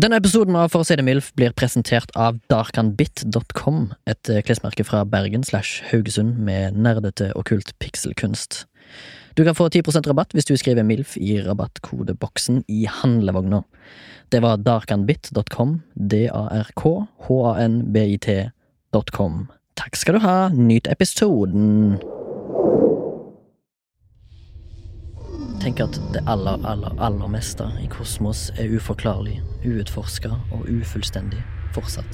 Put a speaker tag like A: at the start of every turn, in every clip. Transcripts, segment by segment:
A: Denne episoden av For å si det mildt blir presentert av darkanbit.com, et eh, klesmerke fra Bergen slash Haugesund med nerdete okkult pikselkunst. Du kan få 10 rabatt hvis du skriver MILF i rabattkodeboksen i handlevogna. Det var darkanbit.com, d-a-r-k-h-a-n-b-i-t.com. Takk skal du ha, nyt episoden! Tenk at det aller, aller, aller meste i kosmos er uforklarlig, uutforska og ufullstendig fortsatt.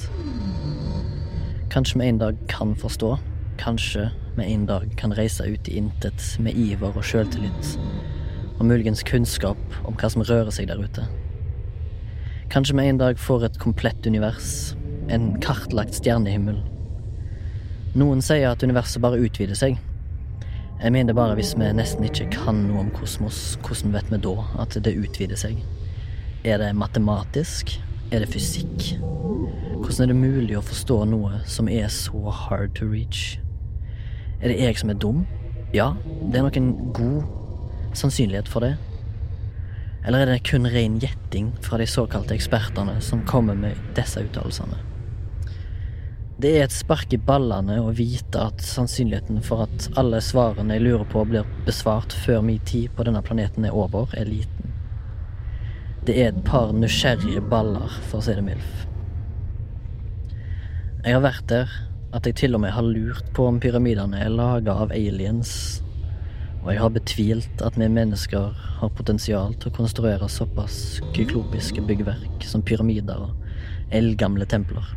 A: Kanskje vi en dag kan forstå. Kanskje vi en dag kan reise ut i intet med iver og sjøltillit. Og muligens kunnskap om hva som rører seg der ute. Kanskje vi en dag får et komplett univers. En kartlagt stjernehimmel. Noen sier at universet bare utvider seg, jeg mener bare hvis vi nesten ikke kan noe om kosmos, hvordan vet vi da at det utvider seg? Er det matematisk? Er det fysikk? Hvordan er det mulig å forstå noe som er så hard to reach? Er det jeg som er dum? Ja, det er nok en god sannsynlighet for det. Eller er det kun ren gjetting fra de såkalte ekspertene som kommer med disse uttalelsene? Det er et spark i ballene å vite at sannsynligheten for at alle svarene jeg lurer på blir besvart før min tid på denne planeten er over, er liten. Det er et par nysgjerrige baller, for å si det mildt. Jeg har vært der at jeg til og med har lurt på om pyramidene er laga av aliens, og jeg har betvilt at vi mennesker har potensial til å konstruere såpass kyklopiske byggverk som pyramider og eldgamle templer.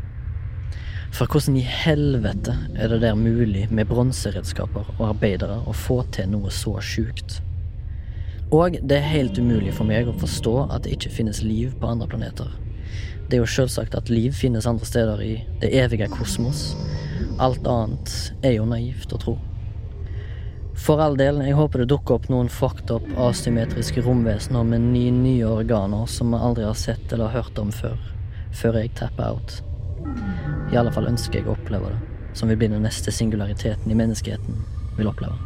A: For hvordan i helvete er det der mulig med bronseredskaper og arbeidere å få til noe så sjukt? Og det er helt umulig for meg å forstå at det ikke finnes liv på andre planeter. Det er jo selvsagt at liv finnes andre steder i det evige kosmos. Alt annet er jo naivt å tro. For all del, jeg håper det dukker opp noen fucked up asymmetriske romvesener med nye, nye organer som vi aldri har sett eller hørt om før, før jeg tapper out. I alle fall ønsker jeg å oppleve det, som vil bli den neste singulariteten i menneskeheten vil oppleve.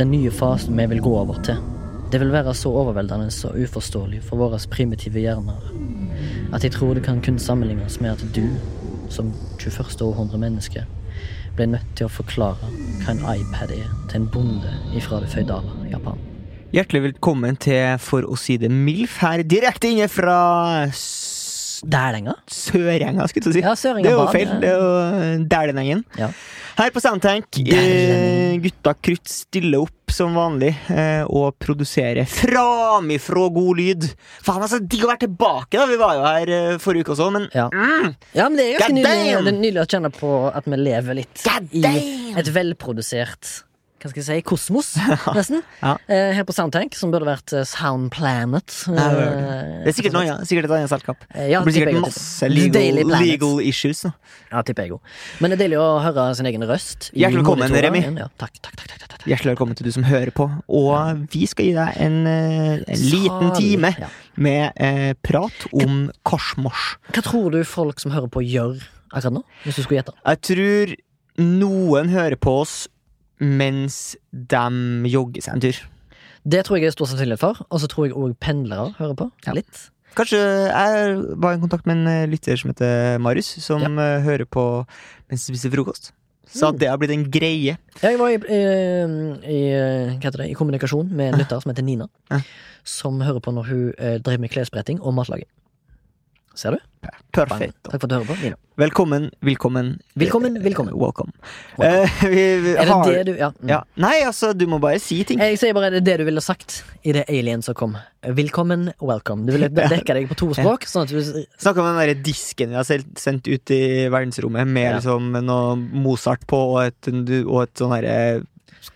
A: Den nye fasen vi vil gå over til. Det vil være så overveldende og uforståelig for våre primitive hjerner at jeg tror det kan kun sammenlignes med at du, som 21. århundre menneske, ble nødt til å forklare hva en iPad er til en bonde ifra det føydale Japan.
B: Hjertelig velkommen til For å si det MILF her, direkte inne fra s-
A: Der lenger?
B: Sørenga, skulle jeg til å si.
A: Ja, Sørenga
B: det er jo
A: bad,
B: feil.
A: ja.
B: Det er jo Dælenengen.
A: Ja.
B: Her på Soundtank, eh,
A: Dælenengen.
B: gutta krutt stiller opp som vanlig eh, og produserer framifrå god lyd. Faen, altså, digg å være tilbake, da. Vi var jo her eh, forrige uke også, men mm,
A: Ja. ja, men det er ganske
B: God
A: nylig,
B: damn!
A: det er nylig å kjenne på at vi lever litt
B: God
A: i
B: damn!
A: et velprodusert hva skal jeg si, kosmos, nesten.
B: Ja.
A: Eh, her på Soundtank, som burde vært eh, Sound Planet.
B: Ja, det burde Det er sikkert, noe, annet- sikkert et annet selskap.
A: Eh, ja,
B: det blir
A: tipper jeg
B: sikkert
A: det.
B: masse
A: Daily
B: legal,
A: Planet.
B: legal issues. Da.
A: Eh, Ja, tipper jeg òg. Men det er deilig å høre sin egen røst. i
B: Hjertelig velkommen,
A: monitoren.
B: Remi.
A: Ja, takk, takk, takk, takk, takk, takk.
B: Hjertelig velkommen til du som hører på. Og vi skal gi deg en, eh, en
A: Salig.
B: liten time
A: Ja.
B: med eh, prat om korsmors.
A: Hva tror du folk som hører på, gjør akkurat nå? Hvis du skulle gjette.
B: Jeg tror noen hører på oss mens de jogger seg en tur.
A: Det tror jeg er stor sannsynlighet for. Og så tror jeg òg pendlere hører på.
B: Ja.
A: Litt.
B: Kanskje jeg var i kontakt med en eh, lytter som heter Marius, som eh, hører på mens de spiser frokost. Så
A: Mm.
B: at det har blitt en greie.
A: Ja, Jeg var i, eh, i, eh, hva heter det, i kommunikasjon med en lytter som heter Nina.
B: Ja.
A: Som hører på når hun eh, driver med klesbretting og matlaging. Ser du? Bang.
B: Perfekt.
A: Takk for at du hører på, Nina.
B: Velkommen, velkommen.
A: Velkommen, velkommen.
B: Eh, Welcome. Eh, vi, vi,
A: Er det
B: har,
A: det du Ja. mm.
B: Ja. Nei, altså, du må bare si ting.
A: Jeg sier bare det, det du ville sagt i det alien som kom. Velkommen, welcome. Du ville dekke deg på to språk. Sånn at du
B: Snakka om den der disken vi har selv- sendt ut i verdensrommet med
A: Ja.
B: liksom noe Mozart på og et, og et sånn herre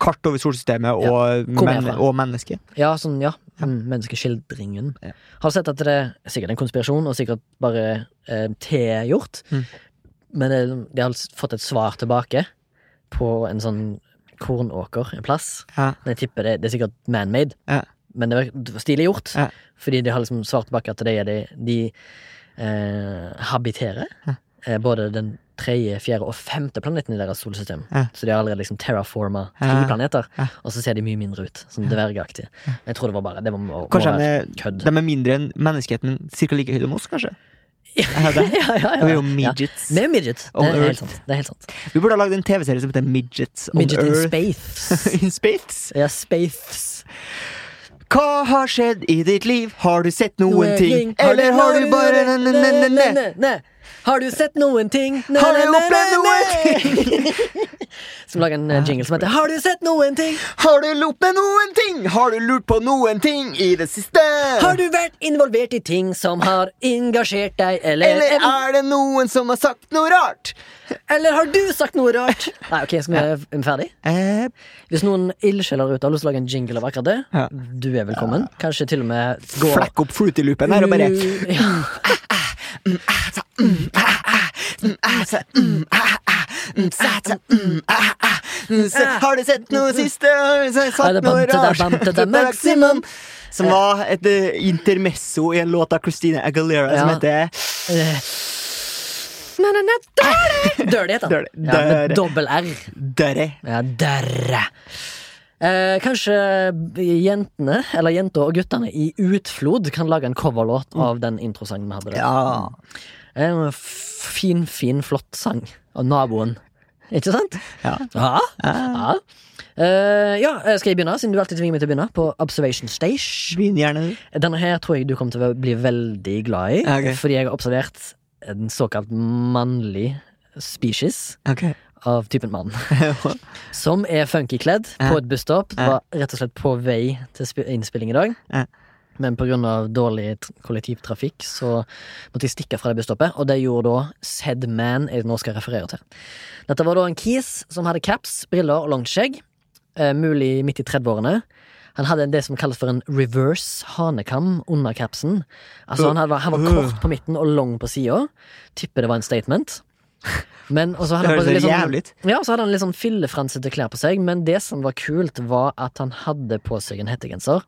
B: kart over solsystemet
A: Ja.
B: og,
A: Hvor
B: men,
A: er det?
B: og menneske.
A: Ja, sånn, ja. Mm, menneskeskildringen.
B: Ja.
A: Har sett at det er sikkert en konspirasjon, og sikkert bare eh, tilgjort.
B: Mm.
A: Men det, de har fått et svar tilbake på en sånn kornåker en plass.
B: Ja.
A: Men Jeg tipper det, det er sikkert man-made,
B: Ja.
A: men det var- det var stilig gjort.
B: Ja.
A: Fordi de har liksom svart tilbake at det er de, de eh, habiterer. Eh, både den tredje, fjerde og femte planeten i deres solsystem.
B: Ja.
A: Så de har allerede liksom terraforma ti
B: Ja.
A: planeter,
B: Ja.
A: og så ser de mye mindre ut. Sånn dvergaktig. Men Jeg tror det var bare Det var, må, må
B: Kanskje de
A: være
B: er,
A: kødd.
B: de er mindre enn menneskeheten, men cirka like høyde som oss, kanskje? Er det?
A: ja, ja,
B: Vi er jo
A: ja.
B: midgets.
A: Vi er jo midget.
B: On
A: Det er
B: Earth.
A: helt sant. Det er helt sant.
B: Vi burde ha lagd en TV-serie som heter Midgets on
A: Midget in
B: Earth.
A: space.
B: In space.
A: Ja, space.
B: Hva har skjedd i ditt liv? Har du sett noen ting?
A: Har
B: Eller har du bare Ne-ne-ne-ne?
A: Ne. Har du sett noen ting? Ne,
B: Har du
A: ne, ne,
B: opplevd
A: ne, ne.
B: noen ting?
A: Som lager en eh, jingle som heter Har du sett noen ting?
B: Har du lurt på noen ting? Har du lurt på noen ting i det siste?
A: Har du vært involvert i ting som har engasjert deg, eller
B: Eller ah. er det noen som har sagt noe rart?
A: Eller har du sagt noe rart? Nei, ok, skal vi er vi ferdig?
B: Eh,
A: Hvis noen ildsjeler ute har lyst til å lage en jingle av akkurat det,
B: Ja.
A: du er velkommen. Kanskje til og med gå
B: flekk opp fruity-loopen her og bare mm,
A: Ja,
B: ah, mm, ah, Har du sett noe siste? Har
A: Har
B: du
A: du
B: sett noe
A: bam, tada, bam, tada, maximum?
B: rart? Som var et eh, intermesso i en låt av Christina Aguilera som
A: Ja.
B: heter
A: eh. Nei, nei, nei, Dørre! Dørre heter
B: Dørre.
A: den. Ja, med
B: Dørre.
A: dobbel R.
B: Dørre.
A: Ja, dørre. Eh, kanskje jentene, eller jenta og guttene i Utflod kan lage en coverlåt av den introsangen vi hadde der.
B: Mm. Ja.
A: En f- fin, fin, flott sang av naboen. Ikke sant?
B: Ja.
A: Ja. ja. Eh, ja, eh, skal jeg begynne, siden du alltid tvinger meg til å begynne? På Observation Stage.
B: Begynn gjerne, du.
A: Denne her tror jeg du kommer til å bli veldig glad i,
B: Ja, ok.
A: fordi jeg har observert en såkalt mannlig species
B: Ok.
A: av typen mann. Som er funky kledd
B: Ja.
A: på et busstopp.
B: Ja.
A: Var rett og slett på vei til sp- innspilling i dag.
B: Ja.
A: Men pga. dårlig t- kollektivtrafikk så måtte jeg stikke fra det busstoppet. Og det gjorde da Sad Man jeg nå skal referere til. Dette var da en kis som hadde caps, briller og langt skjegg. Eh, mulig midt i 30-årene. Han hadde det som kalles for en reverse hanekam under capsen. Altså Han, hadde, han var
B: Øh.
A: kort på midten og lang på sida. Tipper det var en statement. Men, og så hadde
B: Det
A: han
B: høres
A: bare litt
B: helt
A: sånn-
B: jævlig ut.
A: ja, så hadde han litt sånn fyllefransete klær på seg, men det som var kult, var at han hadde på seg en hettegenser.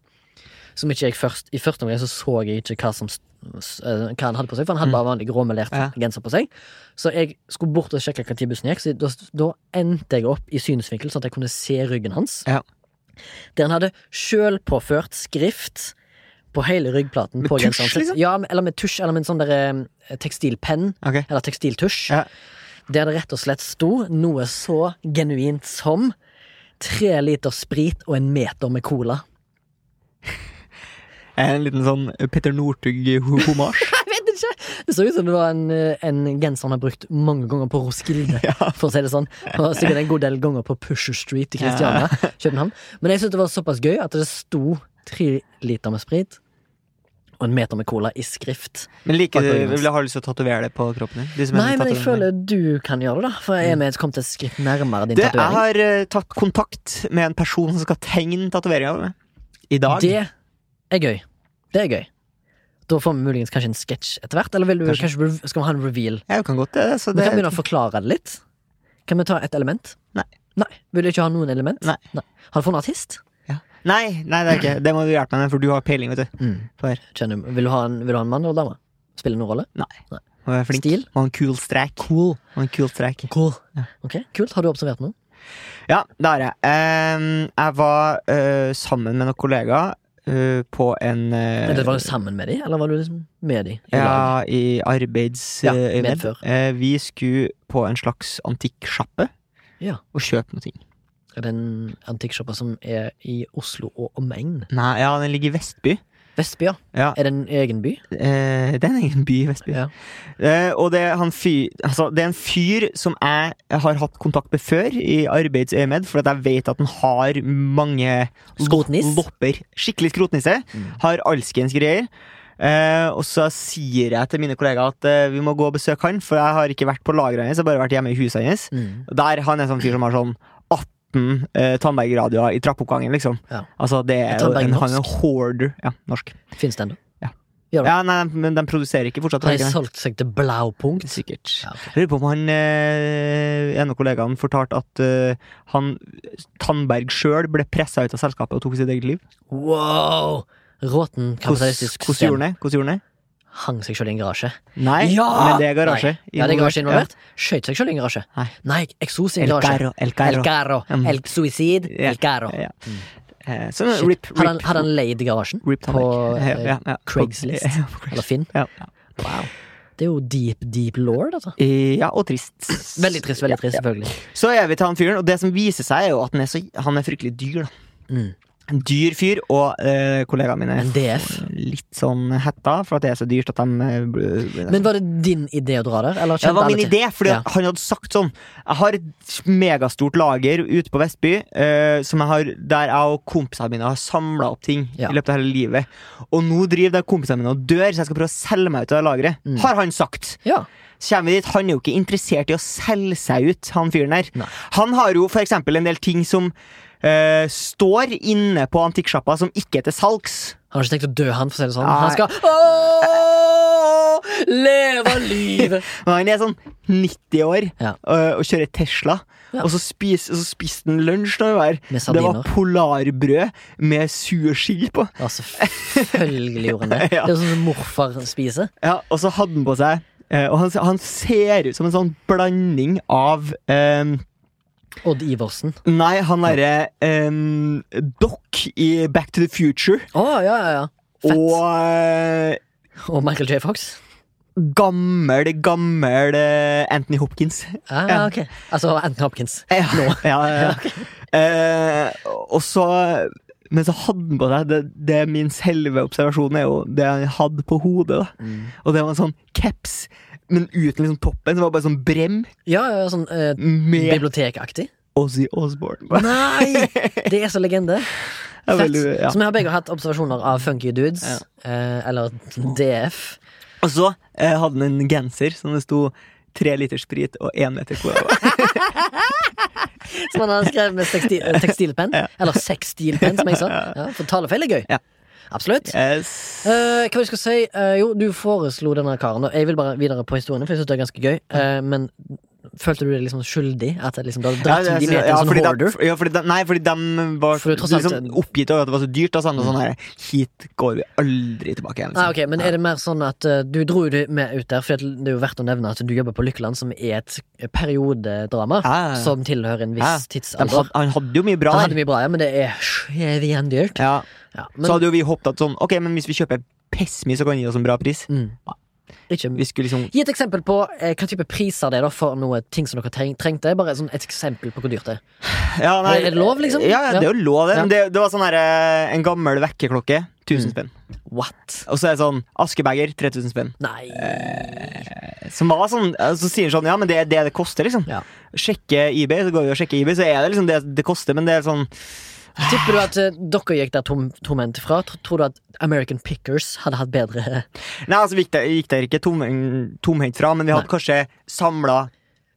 A: Som ikke jeg først I første omgang så så jeg ikke hva, som, s- s- eh, hva han hadde på seg, for han hadde bare vanlig gråmelert
B: Mm. Ja.
A: genser på seg. Så jeg skulle bort og sjekke når bussen gikk, så da, da endte jeg opp i synsvinkel, sånn at jeg kunne se ryggen hans.
B: Ja.
A: Der han hadde sjølpåført skrift på hele ryggplaten.
B: Med
A: på
B: tusj,
A: genseren sin.
B: liksom?
A: Ja, eller med tusj, eller med en sånn der, eh, tekstilpenn.
B: Ok.
A: Eller tekstiltusj.
B: Ja.
A: Der det rett og slett sto noe så genuint som tre liter sprit og en meter med cola.
B: En liten sånn Petter Northug-homasj.
A: Jeg vet ikke! Det så ut som det var en, eh, en genser han har brukt mange ganger på Roskilde.
B: Ja.
A: For å si det sånn. Og sikkert en god del ganger på Pusher Street i Kristiania. København. Men jeg syntes det var såpass gøy at det sto tre liter med sprit og en meter med cola i skrift.
B: Men liker
A: Bak
B: du,
A: ryggen hans.
B: vil du ha lyst til å tatovere det på kroppen din? Du som er
A: Nei,
B: en
A: men jeg
B: tatovering. Mm.
A: føler du kan gjøre det, da. For jeg er med kommet et skritt nærmere din
B: Du, jeg
A: tatovering.
B: har eh, tatt kontakt med en person som skal tegne tatoveringa i dag.
A: Det er gøy. Det er gøy. Da får vi muligens kanskje en sketsj etter hvert. Eller vil du,
B: Kanskje.
A: kanskje. rev- skal vi ha en reveal?
B: Ja, vi kan godt det. Så
A: Vi
B: det
A: kan begynne å forklare det litt. Kan vi ta et element?
B: Nei.
A: Nei. Vil du ikke ha noen element?
B: Nei.
A: Har du funnet artist?
B: ja. Nei, nei, det er ikke det. må du hjelpe meg med, for du har peiling, vet du. På her.
A: Kjenner, du- vil, du ha en, vil du ha en mann eller dame? Spiller det noen rolle?
B: Nei. Må være flink.
A: Stil?
B: Må ha en kul strek.
A: Cool.
B: Må ha en kul strek.
A: Cool. Ok, kult. Har du observert noe?
B: Ja, det har jeg. Ehm, jeg var eh, sammen med noen kollegaer eh, på en eh,
A: Eller var du sammen med de, eller var du liksom med de? i lag?
B: Ja, i arbeids...
A: Ja,
B: eh, øyemed.
A: medfør.
B: Eh, vi skulle på en slags antikksjappe
A: Ja.
B: og kjøpe noe.
A: Er det en antikksjappa som er i Oslo og omegn?
B: Nei, ja, den ligger i Vestby.
A: Vestby, ja.
B: Ja,
A: Er det en egen by?
B: eh, det er en egen by i Vestby.
A: Ja.
B: Eh, og det er, han fyr, altså, det er en fyr som jeg har hatt kontakt med før i arbeidsøyemed, for at jeg vet at han har mange
A: Skrotniss?
B: lop- lopper. Skikkelig skrotnisse.
A: Mm.
B: Har alskens greier. Eh, og så sier jeg til mine kollegaer at eh, vi må gå og besøke han, for jeg har ikke vært på lageret hans, jeg har bare vært hjemme i huset hans.
A: Mm.
B: Der han er sånn fyr som har sånn 18 eh, tannbergradioer i trappeoppgangen, liksom.
A: Ja.
B: Altså, det
A: Er
B: er jo
A: Tandberg
B: en, han er en hoarder. Ja, norsk.
A: Fins det ennå? Ja.
B: Ja, nei, men de produserer ikke fortsatt.
A: Har de
B: ikke det?
A: solgt seg til Blaupunkt?
B: Sikkert.
A: Ja, ok.
B: Jeg lurer på om han eh, en av kollegaene fortalte at eh, han Tandberg sjøl ble pressa ut av selskapet og tok sitt eget liv.
A: Wow! Råten
B: Hvordan
A: kapitalistisk
B: hvordan gjorde
A: system.
B: han det? Hvordan gjorde han det?
A: hang seg sjøl i en garasje.
B: Nei, men det er garasje.
A: Nei. Ja, det er garasje
B: Involvert.
A: involvert. Skjøt seg sjøl i en garasje.
B: Nei.
A: Nei, eksos i en
B: El
A: garasje.
B: Carro. El
A: El
B: Carro.
A: Carro.
B: Mm.
A: El Suicide.
B: Ja.
A: El Carro.
B: Ja.
A: Mm.
B: Eh, Så
A: Shit.
B: rip, rip.
A: Hadde han- Hadde han leid garasjen på
B: rip Tanek. Ja,
A: eh,
B: ja, ja. På-
A: Craigslist?
B: Ja, på
A: Eller
B: Craigslist.
A: Finn?
B: Ja, ja.
A: Wow. Det er jo deep, deep law, dette.
B: Eh, ja, og trist.
A: Veldig trist, veldig trist, selvfølgelig.
B: Så er vi til han fyren, og det som viser seg, er jo at han er, så, han er fryktelig dyr. da
A: Mm.
B: En dyr fyr, og eh, kollegaene mine
A: Men DF.
B: får litt sånn hetta for at det er så dyrt at de eh, bl-
A: Men var det din idé å dra der? Eller
B: Ja,
A: kjente
B: det var
A: alle
B: min
A: til?
B: idé, fordi
A: Ja.
B: at han hadde sagt sånn Jeg har et megastort lager ute på Vestby eh, som jeg har, der jeg og kompisene mine har samla opp ting
A: Ja.
B: i løpet av hele livet. Og nå driver de kompisene mine og dør, så jeg skal prøve å selge meg ut av det lageret.
A: Mm.
B: Har han sagt.
A: Ja.
B: Så kommer vi dit, Han er jo ikke interessert i å selge seg ut, han fyren der.
A: Nei.
B: Han har jo f.eks. en del ting som eh, står inne på antikksjappa som ikke er til salgs.
A: Han har ikke tenkt å dø, han, for å si det sånn.
B: Nei.
A: Han skal Åh, leve livet!
B: Men han er sånn 90 år
A: Ja.
B: øh, og kjører Tesla.
A: Ja.
B: Og så, spis, og så spiste han lunsj når vi var
A: Med
B: her. Det var
A: sardiner.
B: polarbrød med sursild på.
A: Ja, selvfølgelig gjorde han det. Det
B: Ja.
A: er jo sånn som morfar spiser.
B: Ja, og så hadde han på seg eh, Og han, han ser ut som en sånn blanding av ehm,
A: Odd Iversen.
B: Nei, han derre um, Doc i Back to the Future
A: Å, ja, ja, ja. Fett.
B: og
A: Og,
B: eh,
A: Michael J. Fox.
B: gammel, gammel eh, Anthony Hopkins.
A: Ja,
B: Ja.
A: ok. Altså Anthony Hopkins.
B: Ja. Ja, ja, ja. Eh, og så Men så hadde han på seg Det, det er min selve observasjon er jo det han hadde på hodet. da Og det var en sånn caps, men uten liksom toppen. Som var det bare sånn brem
A: Ja, ja, sånn eh,
B: med
A: bibliotekaktig.
B: Ozzy Osbourne. på.
A: Nei! Det er så legende.
B: Ja,
A: Fett.
B: vel, ja.
A: Så vi har begge hatt observasjoner av Funky Dudes, eh, eller DF.
B: Og så eh, hadde han en genser som det sto tre liter sprit og én meter cola på.
A: Som han har skrevet med tekstil, eh, tekstilpenn. Eller sexstilpenn, som jeg sa. Ja, for talefeil er gøy.
B: Ja.
A: Absolutt.
B: Yes.
A: Eh, hva vi skal si? Eh, jo, du foreslo denne karen. og Jeg vil bare videre på historien, for jeg synes det er ganske gøy. Eh, men følte du deg liksom skyldig? At det liksom, du hadde dratt
B: Ja,
A: ja,
B: det-
A: de med til
B: ja,
A: en sånn
B: fordi de-
A: hoarder?
B: ja, fordi de, nei, fordi de var
A: For det er tross alt
B: liksom,
A: en-
B: oppgitt over at det var så dyrt. Da, sånn, og sånn her, Hit går vi aldri tilbake igjen.
A: Nei,
B: liksom.
A: ok, Men er det mer sånn at eh, du dro jo det med ut der, for det er jo verdt å nevne at du jobber på Lykkeland, som er et periodedrama
B: Ja, ja, ja.
A: som tilhører en
B: Ja,
A: viss
B: De
A: tidsalder.
B: had, han hadde jo mye bra.
A: sånn Han
B: der.
A: hadde mye bra, ja, men det er sjevigjen dyrt.
B: Ja,
A: Ja,
B: så
A: men
B: hadde jo vi håpet at sånn Ok, men hvis vi kjøper pessmi, så kan de gi oss en bra pris.
A: mm, ikke
B: Vi skulle liksom
A: Gi et eksempel på eh, hva type priser det er da for noe ting som dere treng, trengte. Bare sånn et eksempel på hvor dyrt det er.
B: ja, nei,
A: Er det lov, liksom?
B: Ja, ja, det er jo lov, det.
A: Ja. Mm.
B: Men det, det var sånn her eh, En gammel vekkerklokke. 1000 spenn.
A: What?
B: Og så er det sånn askebeger. 3000 spenn.
A: Nei
B: Eh, Som var sånn eh, Så sier han sånn Ja, men det er det det koster, liksom.
A: Ja.
B: Sjekke eBay, så går vi og sjekker eBay, så er det liksom det det koster, men det er sånn
A: Tipper du at eh, dere gikk der tom, tomhendt fra? Tr- Tror du at American Pickers hadde hatt bedre
B: Nei, altså, vi gikk der, gikk der ikke tom, tomhendt fra, men vi hadde
A: Nei.
B: kanskje samla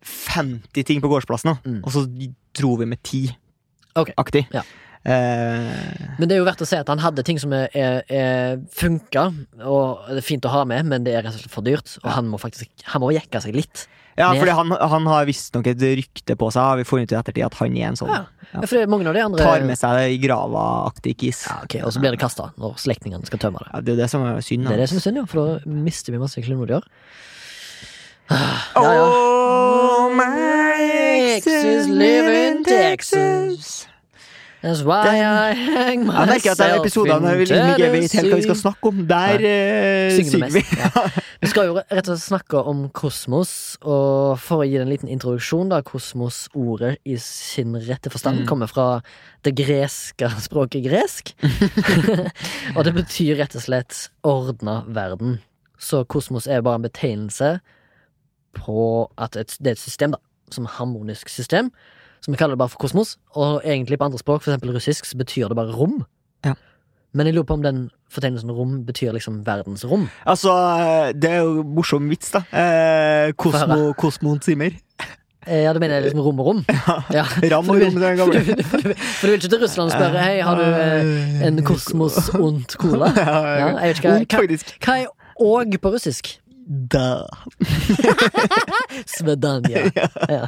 B: 50 ting på gårdsplassen, da.
A: Mm.
B: og så dro vi med 10
A: Ok.
B: aktig.
A: Ja.
B: Eh,
A: Men det er jo verdt å se at han hadde ting som er, er, er funka, og det er fint å ha med, men det er rett og slett for dyrt. Og han må faktisk Han må jekke seg litt.
B: ja,
A: Mer.
B: fordi han, han har visstnok et rykte på seg, har vi funnet ut i ettertid, at han er en sånn
A: Ja. For det er mange av de andre
B: tar med seg det i grava-aktig kis.
A: Ja, ok, Og så blir det kasta når slektningene skal tømme det.
B: Ja, det er jo det som er synd.
A: Det er det
B: altså.
A: som er synd, ja, for da mister vi masse klenodier.
B: Åh,
A: Ja, ja.
B: my ex is living in Texas.
A: That's why I hang
B: Jeg merker at det er
A: myself
B: episoder der vi
A: in
B: liksom ikke vet helt hva vi skal
A: Tennessee.
B: snakke om. Der eh,
A: Synger
B: synger
A: det
B: vi.
A: mest. Ja. Vi skal jo rett og slett snakke om kosmos, og for å gi det en liten introduksjon, da kosmosordet i sin rette forstand
B: Mm.
A: kommer fra det greske språket gresk. og det betyr rett og slett ordna verden. Så kosmos er bare en betegnelse på at et, det er et system, da. Som harmonisk system. Så vi kaller det bare for kosmos. Og egentlig på andre språk, f.eks. russisk, så betyr det bare rom.
B: Ja.
A: Men jeg lurer på om den fortegnelsen rom betyr liksom verdensrom.
B: Altså, det er jo morsom vits, da. Eh, Kosmo, Kosmoen Zimmer.
A: Eh, Ja, du mener liksom rom og rom? Ja.
B: Ram
A: For
B: og
A: du vil-
B: rom, den
A: For du,
B: gamle.
A: for, du, for du vil ikke til Russland og spørre Hei, har du eh, en kosmos ondt cola? Ja, jeg vet ikke hva,
B: Ondt,
A: hva,
B: faktisk.
A: hva er og på russisk?
B: Da.
A: Svedanja. Ja.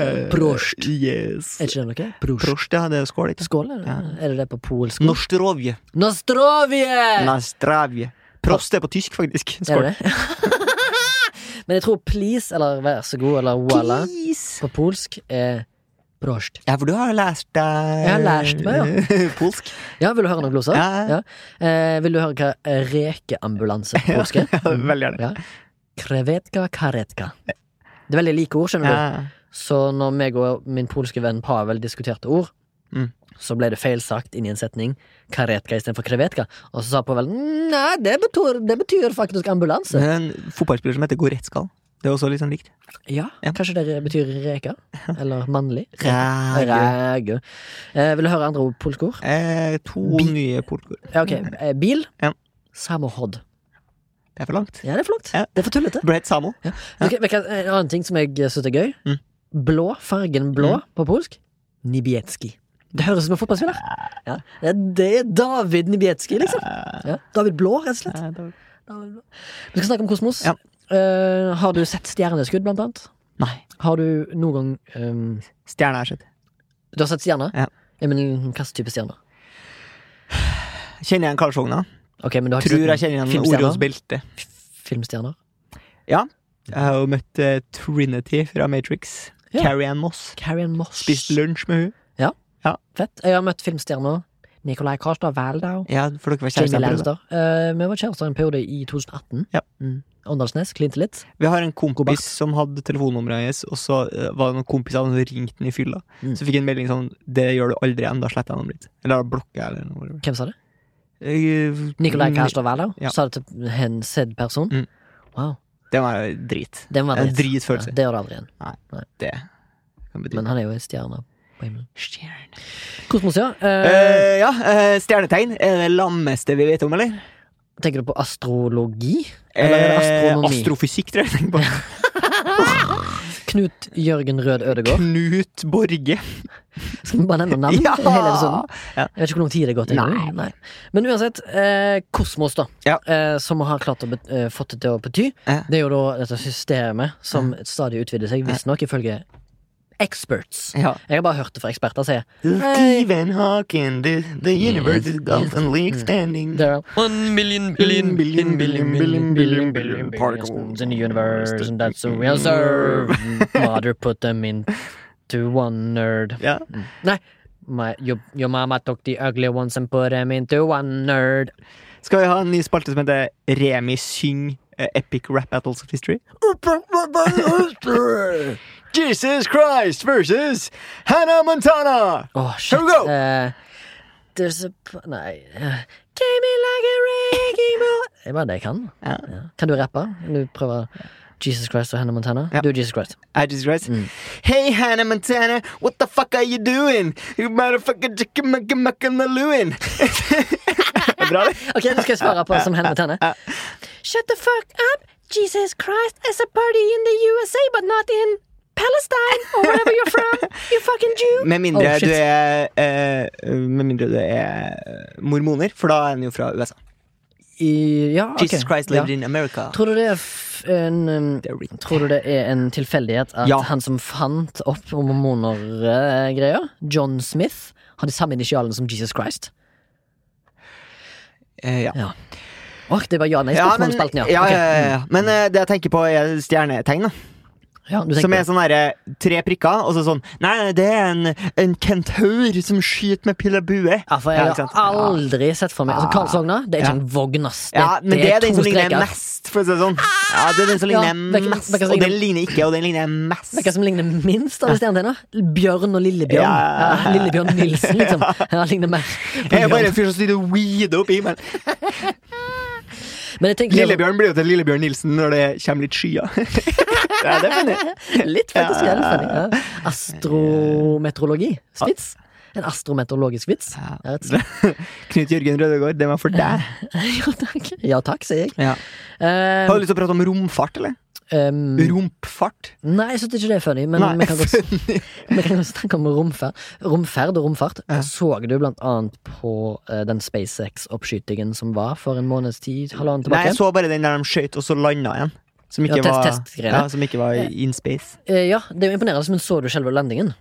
A: Eh, Prost.
B: Yes.
A: Er ikke det noe? Prost.
B: Prost, ja. Det er skål, ikke sant?
A: Skål, er det, er det det på polsk?
B: Norsk rovje.
A: Nostrovje!
B: Nastravje. Prost er på tysk, faktisk.
A: Eh. Er
B: Skål.
A: det det? Men jeg tror please, eller vær så god, eller voila,
B: Please.
A: på polsk er prost.
B: Ja, for du har lært deg
A: Jeg har lært meg,
B: Polsk.
A: Ja, vil du høre noen gloser?
B: Ja.
A: Eh, vil du høre hva rekeambulanse på polsk er?
B: Ja, Veldig gjerne.
A: Ja. Krevetka karetka. Det er veldig like ord, skjønner du.
B: Ja.
A: Så når meg og min polske venn Pavel diskuterte ord,
B: Mm.
A: så ble det feilsagt inn i en setning. Karetka istedenfor krevetka. Og så sa Pavel nei, det betyr, det betyr faktisk
B: Det
A: ambulanse.
B: er en fotballspiller som heter Goretzkal. Det er også litt sånn likt.
A: Ja,
B: Ja.
A: Kanskje det betyr reka? Eller mannlig?
B: Ræge.
A: Ræge. Eh, vil du høre andre ord, polske ord?
B: Eh, to
A: Bi-
B: nye polkord.
A: Ja, ok. Eh, bil.
B: Mm. Ja.
A: Samohod.
B: Det er for langt.
A: Ja, det er flott.
B: Ja.
A: Det er for tullete.
B: Brett Samo.
A: Vet du- vet du hva- En annen ting som jeg syns er gøy.
B: Mm.
A: Blå, fargen blå på polsk. Nibietski. Det høres ut som en fotballspiller. Ja. Det er- Det er David Nibietski, liksom. Ja. David Blå, rett og slett.
B: Eh, da-
A: David Blå. Vi skal snakke om kosmos.
B: Ja.
A: Eh, har du sett stjerneskudd, blant annet?
B: Nei.
A: Har du noen gang ehm,
B: Stjerne er sett.
A: Du har sett stjerner?
B: Ja.
A: men hva slags type stjerner?
B: Kjenner igjen Karlsvogna.
A: Ok, men du har ikke
B: Tror jeg
A: sett noen
B: kjenner igjen
A: filmstjerner?
B: Orions belte.
A: f- filmstjerner?
B: Jeg har jo møtt eh, Trinity fra Matrix.
A: Ja.
B: Carrie Ann Moss.
A: Carrie Moss.
B: Spist lunsj med hun
A: Fett. Jeg har møtt filmstjerner. Nicolai Karstad Waldau.
B: Ja, for dere var
A: Jamie
B: kjærester. på det da.
A: Lannister. Eh, vi var kjærester en periode i 2018.
B: Ja.
A: Mm. Åndalsnes klinte litt.
B: Vi har en
A: Kobach.
B: kompis som hadde telefonnummeret hennes, og så eh, var det noen kompiser som ringte den i fylla.
A: Mm.
B: Så fikk jeg en melding sånn 'Det gjør du aldri igjen', da sletter jeg nummeret ditt. Eller da blokker jeg, eller noe.
A: Hvem sa det?
B: Eh,
A: Nicolai
B: mm,
A: Kærstad Wælau?
B: Ja.
A: Sa det til en sedd person?
B: Mm.
A: Wow.
B: Det var jo drit.
A: Det må være
B: En
A: litt.
B: dritfølelse.
A: Ja, det gjør det aldri igjen.
B: Det kan bety
A: Men han er jo en stjerne på himmelen.
B: Stjerne.
A: Kosmos, ja. Eh,
B: Eh, ja, eh, stjernetegn er det lammeste vi vet om, eller?
A: tenker du på astrologi? Eller er det astronomi?
B: Eh, astrofysikk, tror jeg jeg tenker på.
A: Knut Jørgen Rød Ødegård.
B: Knut Borge.
A: Skal vi bare nevne navn?
B: Ja!
A: Hele episoden?
B: Ja.
A: Jeg vet ikke hvor lang tid det går til.
B: Nei.
A: Men uansett, eh, kosmos, da.
B: Ja.
A: Eh, som har klart å bet eh, fått det til å bety.
B: Ja.
A: Det er jo da dette systemet som stadig utvider seg, visstnok ifølge experts.
B: Ja.
A: Jeg har bare hørt det fra eksperter si.
B: Stephen Hawking, the, the
A: Mm.
B: universe is golden league standing.
A: One million
B: billion, billion, billion, billion, billion, billion particles
A: in the universe, and that's what we observe. Mother put them into one nerd.
B: Ja.
A: Nei. My, your, your mama took the ugly ones and put them into one nerd.
B: Skal vi ha en ny spalte som heter Remi syng eh, epic rap battles of history?
A: Oh,
B: Jesus Christ versus Hannah Montana!
A: Åh, shit.
B: Here we go.
A: Eh, there's a p- Nei. eh, Came in like a wrecking ball Det er bare det jeg kan.
B: Ja.
A: Kan du rappe? Kan du prøve Jesus Christ og Hannah Montana?
B: Ja.
A: Du er Jesus Christ.
B: I just read. Hey Hannah Montana, what the fuck are you doing? You motherfucker chicken-muckin-muckin-a-lewin. Bra, det.
A: Ok, nå skal jeg svare på som Hannah Montana. Shut the fuck up! Jesus Christ is a party in the USA, but not in Palestine or wherever you're from, you fucking Jew!
B: Med mindre
A: Oh, shit.
B: du er eh, Med mindre du er eh, mormoner, for da er han jo fra USA.
A: I, ja, ok.
B: Jesus Christ
A: ja.
B: lived in America.
A: Tror du det er f en um,
B: Det er riktig.
A: Tror du det er en tilfeldighet at
B: Ja.
A: han som fant opp mormoner-greia, John Smith, har de samme initialene som Jesus Christ?
B: Eh, ja.
A: Ja. Åh, det var ja nei
B: Ja, men,
A: spørsmålspalten,
B: ja,
A: ja.
B: ja,
A: Ok.
B: ja, ja. men eh, det jeg tenker på, er stjernetegn. da
A: ja du
B: Som
A: tenker
B: er sånn derre tre prikker, og så sånn Nei, nei, det er en, en kentaur som skyter med pil og bue.
A: Ja, for Altså,
B: sånn- Ja,
A: jeg
B: ikke sant? Ah.
A: har aldri sett for meg altså, Karlsvogna, det er ikke
B: Ja.
A: en vogn, ass. Det,
B: Ja, men det er den
A: to
B: som ligner
A: streker. Ah!
B: mest, for å si det sånn. Ja, det er den som
A: Ja,
B: ligner
A: hvilken-
B: mest,
A: hvilken som
B: og den
A: ligner-
B: ligner ikke, og den ligner mest.
A: Hvem som ligner minst av de stjernetegnene? Bjørn og Lillebjørn. Ja.
B: Ja.
A: Lillebjørn Nilsen, liksom. Han ligner mer. på
B: Jeg er bare
A: Bjørn.
B: en fyr som sitter og weeder opp i himmelen.
A: Men jeg tenker
B: Lillebjørn blir jo til Lillebjørn Nilsen når det kommer litt skyer. ja, det er funny.
A: Litt faktisk ja. det er funny, ja. Astrometeorologi. Vits. En astrometeorologisk vits.
B: Ja.
A: Ja, et slags-
B: Knut Jørgen Rødegård, det var for deg.
A: ja, takk. ja takk, sier jeg.
B: Ja.
A: Eh,
B: Har du lyst til å prate om romfart, eller?
A: ehm,
B: Rumpfart?
A: nei, jeg syns ikke det er funny, men
B: Nei,
A: vi kan, godt, vi kan godt snakke om romferd. Romferd og romfart. Så du blant annet på eh, den SpaceX-oppskytingen som var for en måneds tid, halvannen
B: Nei,
A: tilbake?
B: jeg så bare den der de skøyt, og så landa igjen. Som
A: Ja,
B: ikke,
A: test-
B: var,
A: testgreiene.
B: ja, som ikke var in space.
A: Eh, ja, det er jo imponerende, men så du selve landingen?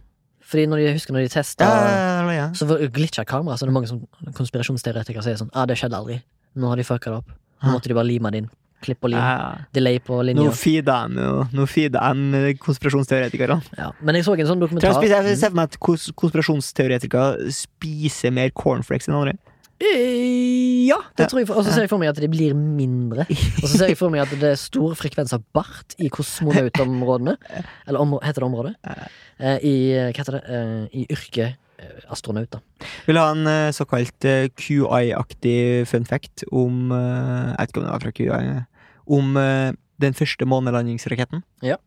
A: Fordi når de, jeg husker når de testa
B: Ja, ja, ja, ja.
A: Så glitcha kameraet, så det er mange som konspirasjonsteoretikere sier sånn ah, det skjedde aldri. Nå har de fucka det opp. Nå måtte de bare lime det inn. Klipp og lim.
B: Ja.
A: Delay på
B: Ah. Nå
A: linja.
B: feeder de jo Nå feeder de konspirasjonsteoretikerne.
A: Ja. Men jeg så en sånn
B: Tror
A: dokumentar
B: Jeg spis- jeg ser for meg at kos- konspirasjonsteoretikere spiser mer cornflakes enn andre.
A: Eh, Ja, det tror jeg. for- Og så ser jeg for meg at de blir mindre. Og så ser jeg for meg at det er stor frekvens av bart i kosmonautområdene. Eller om, heter det området? Eh, I, hva heter det? Eh, I yrket eh, astronaut, da.
B: Vil ha en eh, såkalt eh, QI-aktig fun fact om eh, Jeg vet ikke om det var fra QI. eh, Om eh, den første månelandingsraketten.
A: Ja.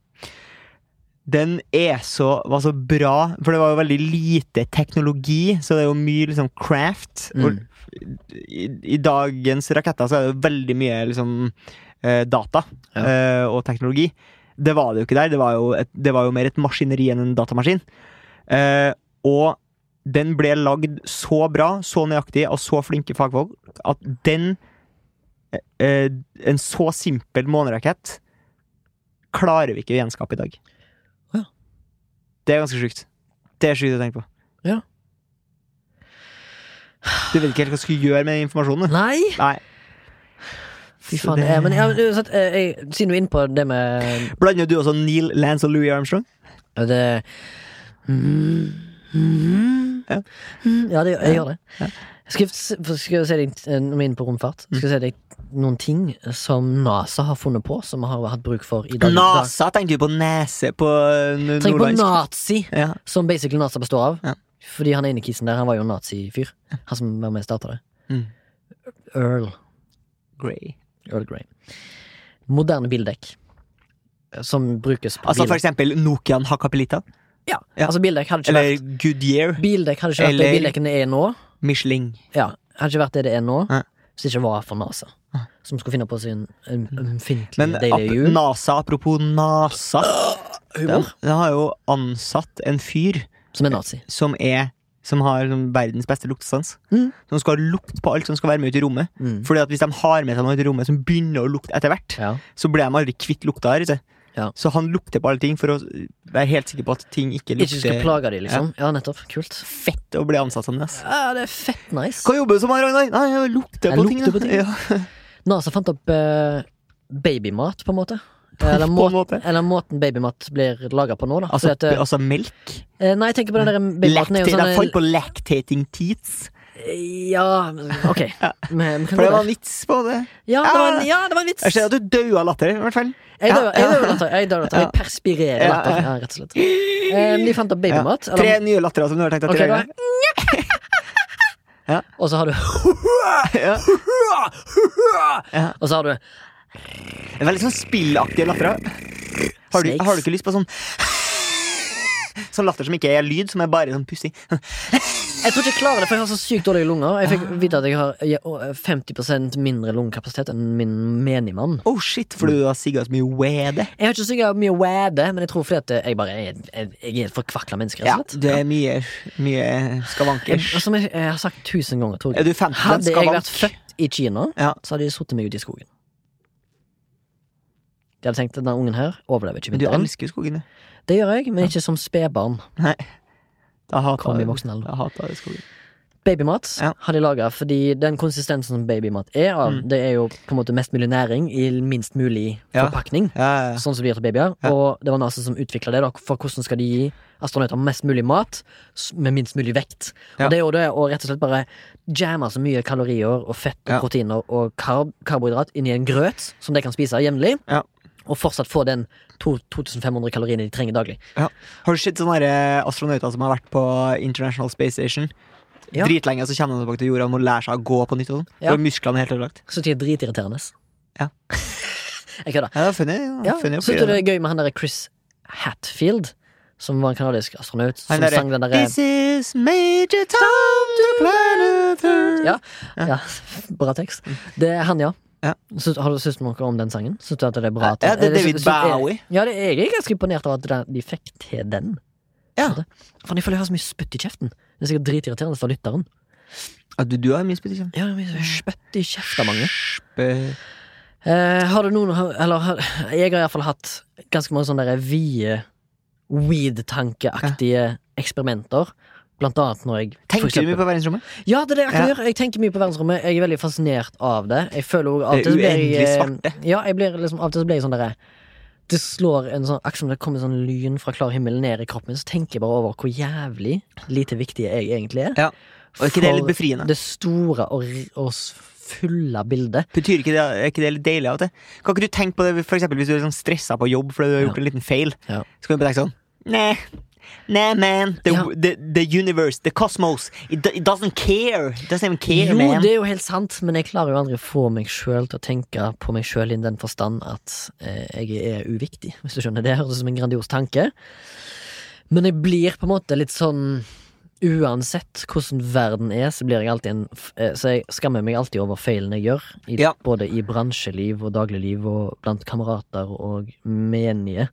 B: Den er så, var så bra, for det var jo veldig lite teknologi, så det er jo mye liksom craft. Og
A: Mm.
B: i, I dagens raketter så er det jo veldig mye liksom eh, data
A: Ja.
B: eh, og teknologi. Det var det jo ikke der. Det var jo, et, det var jo mer et maskineri enn en datamaskin. Eh, og den ble lagd så bra, så nøyaktig av så flinke fagfolk at den eh, En så simpel månerakett klarer vi ikke å gjenskape i dag.
A: Ja.
B: Det er ganske sjukt. Det er sjukt å tenke på.
A: Ja.
B: Du vet ikke helt hva du skal gjøre med den informasjonen. du.
A: Mm. Nei!
B: Nei.
A: Fy
B: Så
A: faen.
B: det-
A: eh, Men ja, uansett, eh, jeg, siden du er inne på det med
B: Blander du også Neil Lance og Louis Armstrong?
A: Og Det mm, mm,
B: Ja.
A: mm, Ja, det, jeg gjør det.
B: Ja.
A: Skal, jeg s- for- skal jeg si deg, eh, når vi er inne på romfart, skal jeg si deg noen ting som NASA har funnet på, som vi har hatt bruk for i dag.
B: NASA tenker du på nese på eh, n-
A: Tenk på
B: nordlandsk.
A: nazi,
B: Ja.
A: som basically NASA består av.
B: Ja.
A: Fordi han ene kissen der, han var jo en nazifyr. Han som var med og starta det.
B: Mm.
A: Earl.
B: Grey.
A: Earl Grey. Moderne bildekk. eh, Som brukes på
B: Altså for
A: biler.
B: eksempel Nokian Hakapelita.
A: Ja.
B: Ja.
A: Altså, bildekk hadde ikke
B: Eller
A: vært
B: Goodyear.
A: Bildekk hadde ikke vært det
B: Eller-
A: bildekken det er nå.
B: Michelin.
A: Ja, hadde ikke vært det det er nå
B: Nei.
A: hvis det ikke var for NASA. Som skulle finne på sin um,
B: Mm. Men
A: ømfintlige
B: ap
A: Daily Jul.
B: NASA, apropos NASA Den,
A: Humor.
B: den har jo ansatt en fyr
A: Som er nazi.
B: som er som har sånn verdens beste luktesans.
A: Mm.
B: Som skal lukte på alt som skal være med ut i rommet.
A: Mm.
B: Fordi at Hvis de har med seg noe ut i rommet som begynner å lukte etter hvert,
A: Ja.
B: så blir de aldri kvitt lukta. her ikke?
A: Ja.
B: Så han lukter på alle ting for å være helt sikker på at ting ikke
A: Ikke skal
B: lukter
A: plage de, liksom. Ja, nettopp. Kult.
B: fett å bli ansatt som det. ass.
A: Ja, det er fett nice.
B: Hva jobber du som, her, Ragnar? Nei, jeg lukter
A: Jeg
B: på
A: lukter
B: ting.
A: på
B: da.
A: ting.
B: Ja,
A: NASA fant opp eh, babymat, på en måte. Eller,
B: på
A: må,
B: en måte.
A: eller måten babymat blir laga på nå, da.
B: Altså,
A: Fordi at, eh,
B: altså melk?
A: eh, nei, jeg tenker på den der babymaten er
B: Lactate-
A: jo
B: de falt
A: sånn eh,
B: på lactating teats.
A: Ja, ok. Men, men kan
B: For det
A: gå
B: var en
A: der.
B: vits på det.
A: Ja, det var en, ja, det var en vits!
B: Jeg ser at du daua latter, i hvert fall.
A: Jeg dør, jeg
B: Ja.
A: dør av latter. Jeg dør av latter. Jeg perspirerer
B: Ja.
A: latter, ja, rett og slett. Eh, de fant opp
B: Ja.
A: babymat. eller-
B: Tre nye latterer som du har tenkt at
A: Ok,
B: du
A: da.
B: gjør. Ja.
A: Og så har du
B: Ja. Ja.
A: Og så har du
B: Veldig sånn spillaktige latterer. Har du,
A: Snakes.
B: har du ikke lyst på sånn Sånn latter som ikke er lyd, som er bare sånn pusting?
A: Jeg tror ikke jeg klarer det, for jeg har så sykt dårlige lunger. Jeg fikk
B: Ah.
A: vite at jeg har ja, å, 50 mindre lungekapasitet enn min menigmann.
B: Oh shit, fordi du har sigga så mye wede.
A: Jeg har ikke så mye wade, men jeg tror fordi at jeg bare er, jeg, jeg er et forkvakla menneske.
B: Ja,
A: rett og slett.
B: det er mye, mye skavankers.
A: Og Som jeg, jeg har sagt tusen ganger, tror
B: Er
A: jeg.
B: du 50
A: Hadde jeg vært
B: skavank?
A: født i Kina,
B: Ja.
A: så hadde de sittet meg ute i skogen. De hadde tenkt at denne ungen her overlever ikke
B: Men du
A: vinteren.
B: elsker jo skogen, du.
A: Det gjør jeg, men ikke som spedbarn.
B: Da hater
A: Kom i
B: jeg
A: voksen alder.
B: da hater jeg skogen.
A: Babymat
B: Ja. Mm.
A: har de laga fordi den konsistensen som babymat er av, det er jo på en måte mest mulig næring i minst mulig
B: Ja.
A: forpakning.
B: Ja, ja, ja.
A: Sånn som de gjør til babyer.
B: Ja.
A: Og det var NASA som utvikla det, da, for hvordan skal de gi astronauter mest mulig mat s- med minst mulig vekt.
B: Ja.
A: Og det er jo det å rett og slett bare jamme så mye kalorier og fett og
B: Ja.
A: proteiner og karb karbohydrat inn i en grøt som de kan spise jevnlig.
B: Ja.
A: Og fortsatt få den to- 2500 kaloriene de trenger daglig.
B: Ja. Har du sett sånne her astronauter som har vært på International Space Station?
A: Ja.
B: Dritlenge, så kommer de tilbake til jorda og må lære seg å gå på nytt. Og sånn.
A: Ja.
B: For musklene er helt ødelagt.
A: Så det er dritirriterende.
B: Ja.
A: Jeg kødder.
B: Ja, det er funny, ja.
A: Ja,
B: funny å
A: Syns du
B: gjøre
A: det
B: det.
A: er gøy med han derre Chris Hatfield? Som var en kanadisk astronaut som
B: Han derre,
A: sang den eh, derre
B: This is major time to planet Earth.
A: ja, ja, bra tekst. Det er han, ja.
B: Ja.
A: Syns- har du syns du noe om den sangen? Syns du at det er bra? at-
B: Ja, det er
A: Eh,
B: David
A: syns- syns- er-
B: Bowie.
A: Ja, det er, jeg er ganske imponert over at den- de fikk til den.
B: Ja.
A: Skjønner du? Faen, jeg føler jeg har så mye spytt i kjeften. Det er sikkert dritirriterende for lytteren.
B: Ja, du, du har min spesifikk.
A: Ja, det er mye spytt i kjeften, mange.
B: Sp-
A: Eh, har du noen Eller har, jeg har iallfall hatt ganske mange sånne der vide weed-tankeaktige eksperimenter Blant annet når jeg for
B: Tenker du
A: eksempel-
B: mye på verdensrommet?
A: Ja, det er det jeg kan
B: Ja.
A: gjøre. Jeg tenker mye på verdensrommet. Jeg er veldig fascinert av det. Jeg føler også av og
B: Det
A: til så blir jeg
B: uendelig
A: eh,
B: svarte.
A: Ja, jeg blir liksom Av og til så blir jeg sånn derre Det slår en sånn Akkurat som det kommer sånn lyn fra klar himmel ned i kroppen min, så tenker jeg bare over hvor jævlig lite viktig jeg egentlig er.
B: Ja. Og er ikke det litt
A: For
B: befriende?
A: Det store og, r- og s- fulle bildet.
B: Betyr ikke det, er ikke det litt deilig av og til? Kan ikke du tenke på det for eksempel, hvis du er sånn stressa på jobb fordi du har gjort en liten feil?
A: Ja.
B: Så kan du bare tenke sånn Nei, nei man. The,
A: Ja.
B: the, the universe, the cosmos. It, do- it doesn't care. It doesn't even care,
A: Jo,
B: man.
A: det er jo helt sant, men jeg klarer jo aldri å få meg sjøl til å tenke på meg sjøl i den forstand at eh, jeg er uviktig, hvis du skjønner. Det høres ut som en grandios tanke. Men jeg blir på en måte litt sånn Uansett hvordan verden er, så blir jeg alltid en f- eh, Så jeg skammer meg alltid over feilene jeg gjør, i,
B: Ja.
A: både i bransjeliv og dagligliv og blant kamerater og menige.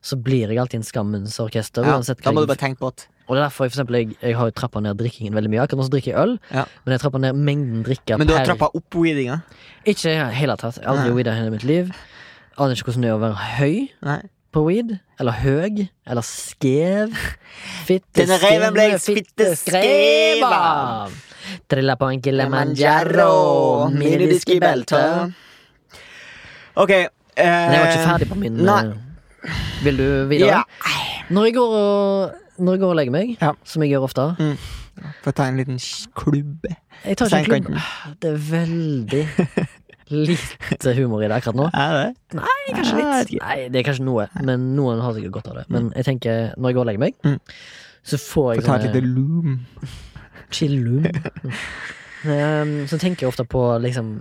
A: Så blir jeg alltid en skammens orkester.
B: Mm. Ja,
A: uansett hva
B: da må
A: jeg
B: du bare tenke på at
A: og det er derfor jeg, for eksempel, jeg, jeg har jo trappa ned drikkingen veldig mye. Akkurat nå så drikker jeg øl,
B: Ja.
A: men jeg trapper ned mengden drikker
B: Men du har trappa opp weedinga?
A: Ikke i det hele tatt. Jeg har Aldri
B: Nei.
A: weed i hele mitt liv. Aner ikke hvordan det er å være høy
B: Nei.
A: på weed. Eller høg. Eller skev. Fitte
B: Denne reven ble jeg fitte skev av.
A: av! Trilla på en kilimanjaro, minidisk i beltet.
B: Ok. eh,
A: Men jeg var ikke ferdig på min
B: Nei.
A: eh, Vil du videre?
B: Ja.
A: Når, jeg går og, når jeg går og legger meg,
B: Ja.
A: som jeg gjør ofte,
B: Få ta en liten sj- klubbe.
A: Jeg tar ikke en
B: Steinkanten.
A: klubb. Ah, Det er veldig lite humor i det akkurat nå.
B: Er det?
A: Nei, kanskje litt.
B: Nei, jeg vet ikke.
A: Nei, det er kanskje noe, men noen har sikkert godt av det. Men jeg tenker, når jeg går og legger
B: Mm.
A: meg, så får
B: Få
A: jeg
B: ta et
A: sånne
B: lite loom.
A: chillum. Um, Så tenker jeg ofte på liksom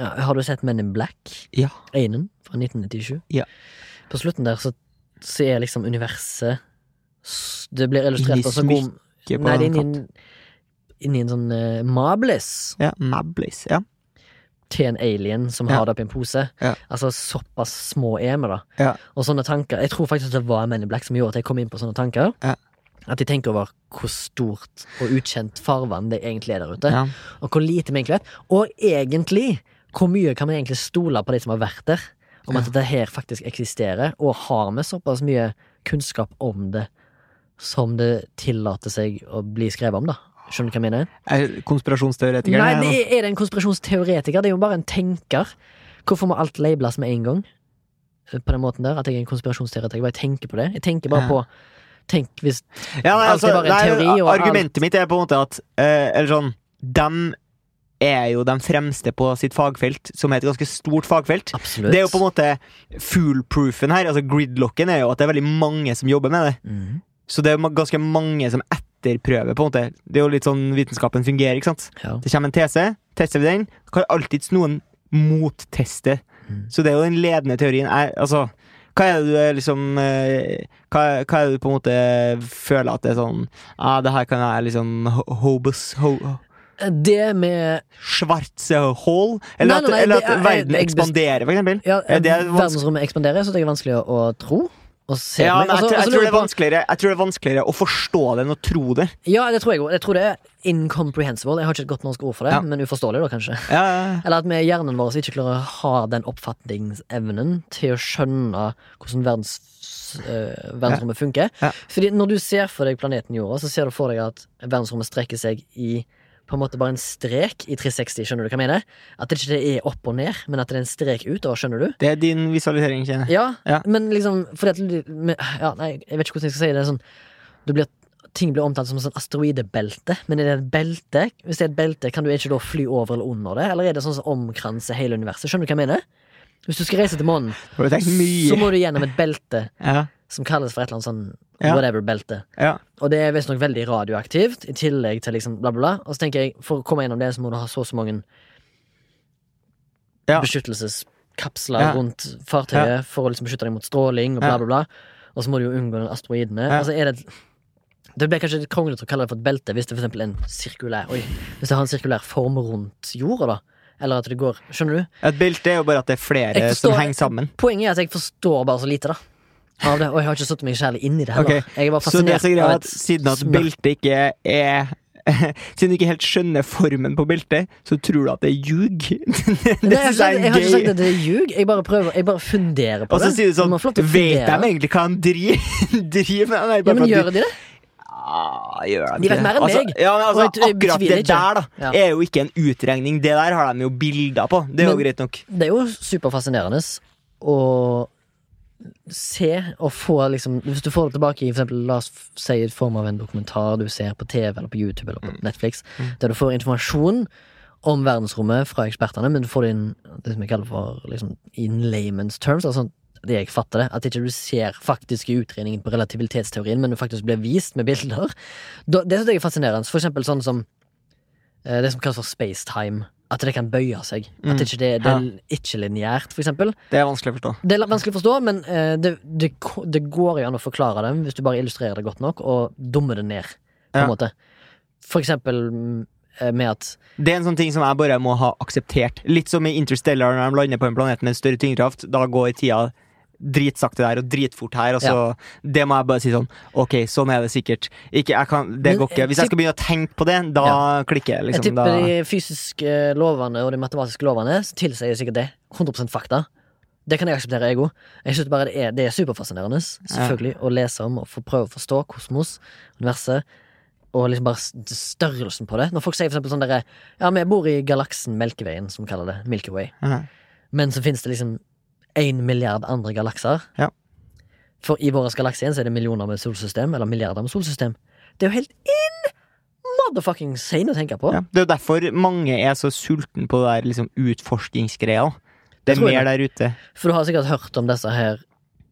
A: ja, Har du sett Men in Black?
B: Ja.
A: Einen fra 1997?
B: Ja.
A: På slutten der så, så er liksom universet s- Det blir illustrert
B: Inni
A: på så god
B: Ikke på
A: Nei, det er
B: en katt.
A: inni en- inni en sånn uh, Mablis.
B: Ja, Mablis. Ja.
A: til en alien som
B: Ja.
A: har det oppi en pose.
B: Ja.
A: Altså Såpass små er vi, da.
B: Ja.
A: Og sånne tanker Jeg tror faktisk det var Men in Black som gjorde at jeg kom inn på sånne tanker.
B: Ja.
A: At jeg tenker over hvor stort og ukjent farvann det egentlig er der ute.
B: ja.
A: Og hvor lite vi egentlig vet. Og egentlig, hvor mye kan vi egentlig stole på de som har vært der? Om at dette her faktisk eksisterer, og har vi såpass mye kunnskap om det som det tillater seg å bli skrevet om, da? Skjønner du hva jeg mener?
B: Er Konspirasjonsteoretikeren?
A: Nei,
B: her nå?
A: det er, er det en konspirasjonsteoretiker? Det er jo bare en tenker. Hvorfor må alt labels med en gang? Eh, På den måten der, At jeg er en konspirasjonsteoretiker. Bare tenker på det. Jeg tenker bare
B: Ja.
A: på Tenk hvis
B: Ja, nei,
A: Alt er
B: altså,
A: bare en
B: nei,
A: teori, og
B: argumentet mitt er på en måte at eh, Eller sånn Dem er jo de fremste på sitt fagfelt, som er et ganske stort fagfelt.
A: Absolutt.
B: Det er jo på en måte foolproofen her. Altså Gridlocken er jo at det er veldig mange som jobber med det.
A: Mhm.
B: Så det er ma- ganske mange som etterprøver. på en måte Det er jo litt sånn vitenskapen fungerer. ikke sant?
A: ja.
B: Det kommer en tese, tester vi den, så kan alltids noen motteste.
A: Mm.
B: Så det er jo den ledende teorien. Er, altså, hva er det du er liksom eh, hva, hva er det du på en måte føler at det er sånn ah, Det her kan være liksom ho- hobos ho
A: Det med
B: Schwarze Hall? Eller,
A: Nei, nei, nei,
B: at, eller
A: det
B: at
A: er-
B: verden
A: jeg- jeg-
B: ekspanderer, for eksempel?
A: ja,
B: Er det vanskelig?
A: Verdensrommet ekspanderer, så det er vanskelig å, å tro. Og se
B: Ja,
A: på.
B: men jeg,
A: Altså,
B: tror- jeg,
A: altså,
B: tror
A: lurer
B: det er
A: på-
B: vanskeligere, jeg tror det er vanskeligere å forstå det enn å tro det.
A: ja, det tror jeg òg. Jeg tror det er incomprehensible. Jeg har ikke et godt norsk ord for det,
B: Ja.
A: men uforståelig, da, kanskje.
B: Ja, ja,
A: Eller at vi i hjernen vår ikke klarer å ha den oppfatningsevnen til å skjønne hvordan verdens, eh, verdensrommet funker.
B: Ja.
A: Fordi når du ser for deg planeten jorda, så ser du for deg at verdensrommet streker seg i på en måte bare en strek i 360, skjønner du hva jeg mener? At det ikke er opp og ned, men at det er en strek utover, skjønner du?
B: Det er din visualisering, kjenner jeg.
A: Ja,
B: Ja.
A: men liksom fordi at, du- men- ja, nei, Jeg vet ikke hvordan jeg skal si det. det er Sånn, du blir, ting blir omtalt som et sånn asteroidebelte. Men er det et belte? Hvis det er et belte, kan du ikke da fly over eller under det? Eller er det sånn som omkranser hele universet? Skjønner du hva jeg mener? Hvis du skal reise til månen,
B: Har du tenkt
A: så
B: mye?
A: må du gjennom et belte
B: Ja,
A: som kalles for et eller annet sånn
B: Ja.
A: whatever-belte.
B: ja.
A: Og det er visstnok veldig radioaktivt, i tillegg til liksom bla, bla, bla. Og så tenker jeg, for å komme gjennom det, så må du ha så og så mange
B: Ja.
A: beskyttelseskapsler
B: Ja.
A: rundt fartøyet for å liksom beskytte deg mot stråling og bla,
B: Ja.
A: bla, bla. Og så må du jo unngå den asteroidene.
B: Ja.
A: Altså er det et det blir kanskje litt kronglete å kalle det for et belte hvis det for eksempel er en sirkulær Oi, hvis det har en sirkulær form rundt jorda, da. Eller at det går Skjønner du?
B: Et belte er jo bare at det er flere
A: Jeg
B: som
A: forstår-
B: henger sammen.
A: Poenget er at jeg forstår bare så lite, da. Av det. Og jeg har ikke satt meg særlig inn i det heller.
B: Ok,
A: Jeg er bare
B: Så
A: fascinert
B: det som er greia
A: av
B: er
A: et
B: at siden at
A: smør-
B: beltet ikke er Siden du ikke helt skjønner formen på beltet, så tror du at det er ljug.
A: Nei,
B: det
A: jeg,
B: syns
A: har ikke- jeg
B: jeg
A: har ikke sagt
B: er
A: at
B: gøy.
A: det er ljug. Jeg bare prøver Jeg bare funderer på
B: Og så
A: det.
B: sier du
A: Du
B: sånn
A: må få lov til å
B: Vet de
A: fundere.
B: egentlig hva han driver driver med? Nei,
A: Ja,
B: bare
A: men
B: for at
A: gjør de
B: du-
A: det?
B: Nja, gjør de
A: De vet
B: ikke det?
A: mer enn
B: altså,
A: meg,
B: Ja, men altså,
A: og jeg- jeg
B: akkurat
A: betviler ikke.
B: det der da
A: Ja.
B: er jo ikke en utregning. Det der har de jo bilder på. Det er jo
A: Men-
B: greit nok.
A: Det er jo superfascinerende å se og få liksom Hvis du får det tilbake i for eksempel, la oss f- si i form av en dokumentar du ser på TV eller på YouTube eller på Netflix, der du får informasjon om verdensrommet fra ekspertene, men du får det inn det som jeg kaller for liksom, in layman's terms. altså det jeg fatter det, At ikke du ser faktiske utredningen på relativitetsteorien, men du faktisk blir vist med bilder. Da- Det synes jeg er fascinerende. For eksempel sånn som eh, det som kalles for spacetime. At det kan bøye seg. At ikke det, det er ikke lineært, for eksempel.
B: Det er vanskelig å forstå.
A: Det er la- vanskelig å forstå, men eh, det, det, ko- det går jo an å forklare dem hvis du bare illustrerer det godt nok, og dummer det ned. På en
B: Ja.
A: måte. For eksempel mm, eh, med at
B: Det er en sånn ting som jeg bare må ha akseptert. Litt som i Interstellar når de lander på en planet med større tyngdekraft. Da går tida dritsakte der og dritfort her. Og så, Det må jeg bare si sånn. Ok, sånn er det sikkert. Ikke, jeg kan, det
A: Men
B: går ikke.
A: jeg
B: Hvis jeg skal begynne å tenke på det, da klikker jeg.
A: Jeg
B: Liksom,
A: tipper
B: da.
A: de fysiske lovene og de matematiske lovene tilsier sikkert det. 100 fakta. Det kan jeg akseptere, jeg òg. Jeg synes bare det er, det er superfascinerende selvfølgelig, å lese om og få prøve å forstå kosmos, universet, og liksom bare s- størrelsen på det. Når folk sier for eksempel sånn derre Ja, vi bor i galaksen Melkeveien, som vi kaller det. Milky Way.
B: Ja.
A: Men så finnes det liksom én milliard andre galakser.
B: Ja.
A: For i vår galakse igjen så er det millioner med solsystem, eller milliarder med solsystem. Det er jo helt in motherfucking sane å tenke på.
B: Ja. Det er jo derfor mange er så sultne på det der liksom, utforskningsgreia. Det
A: Det
B: er
A: tror jeg
B: mer der ute.
A: For du har sikkert hørt om disse her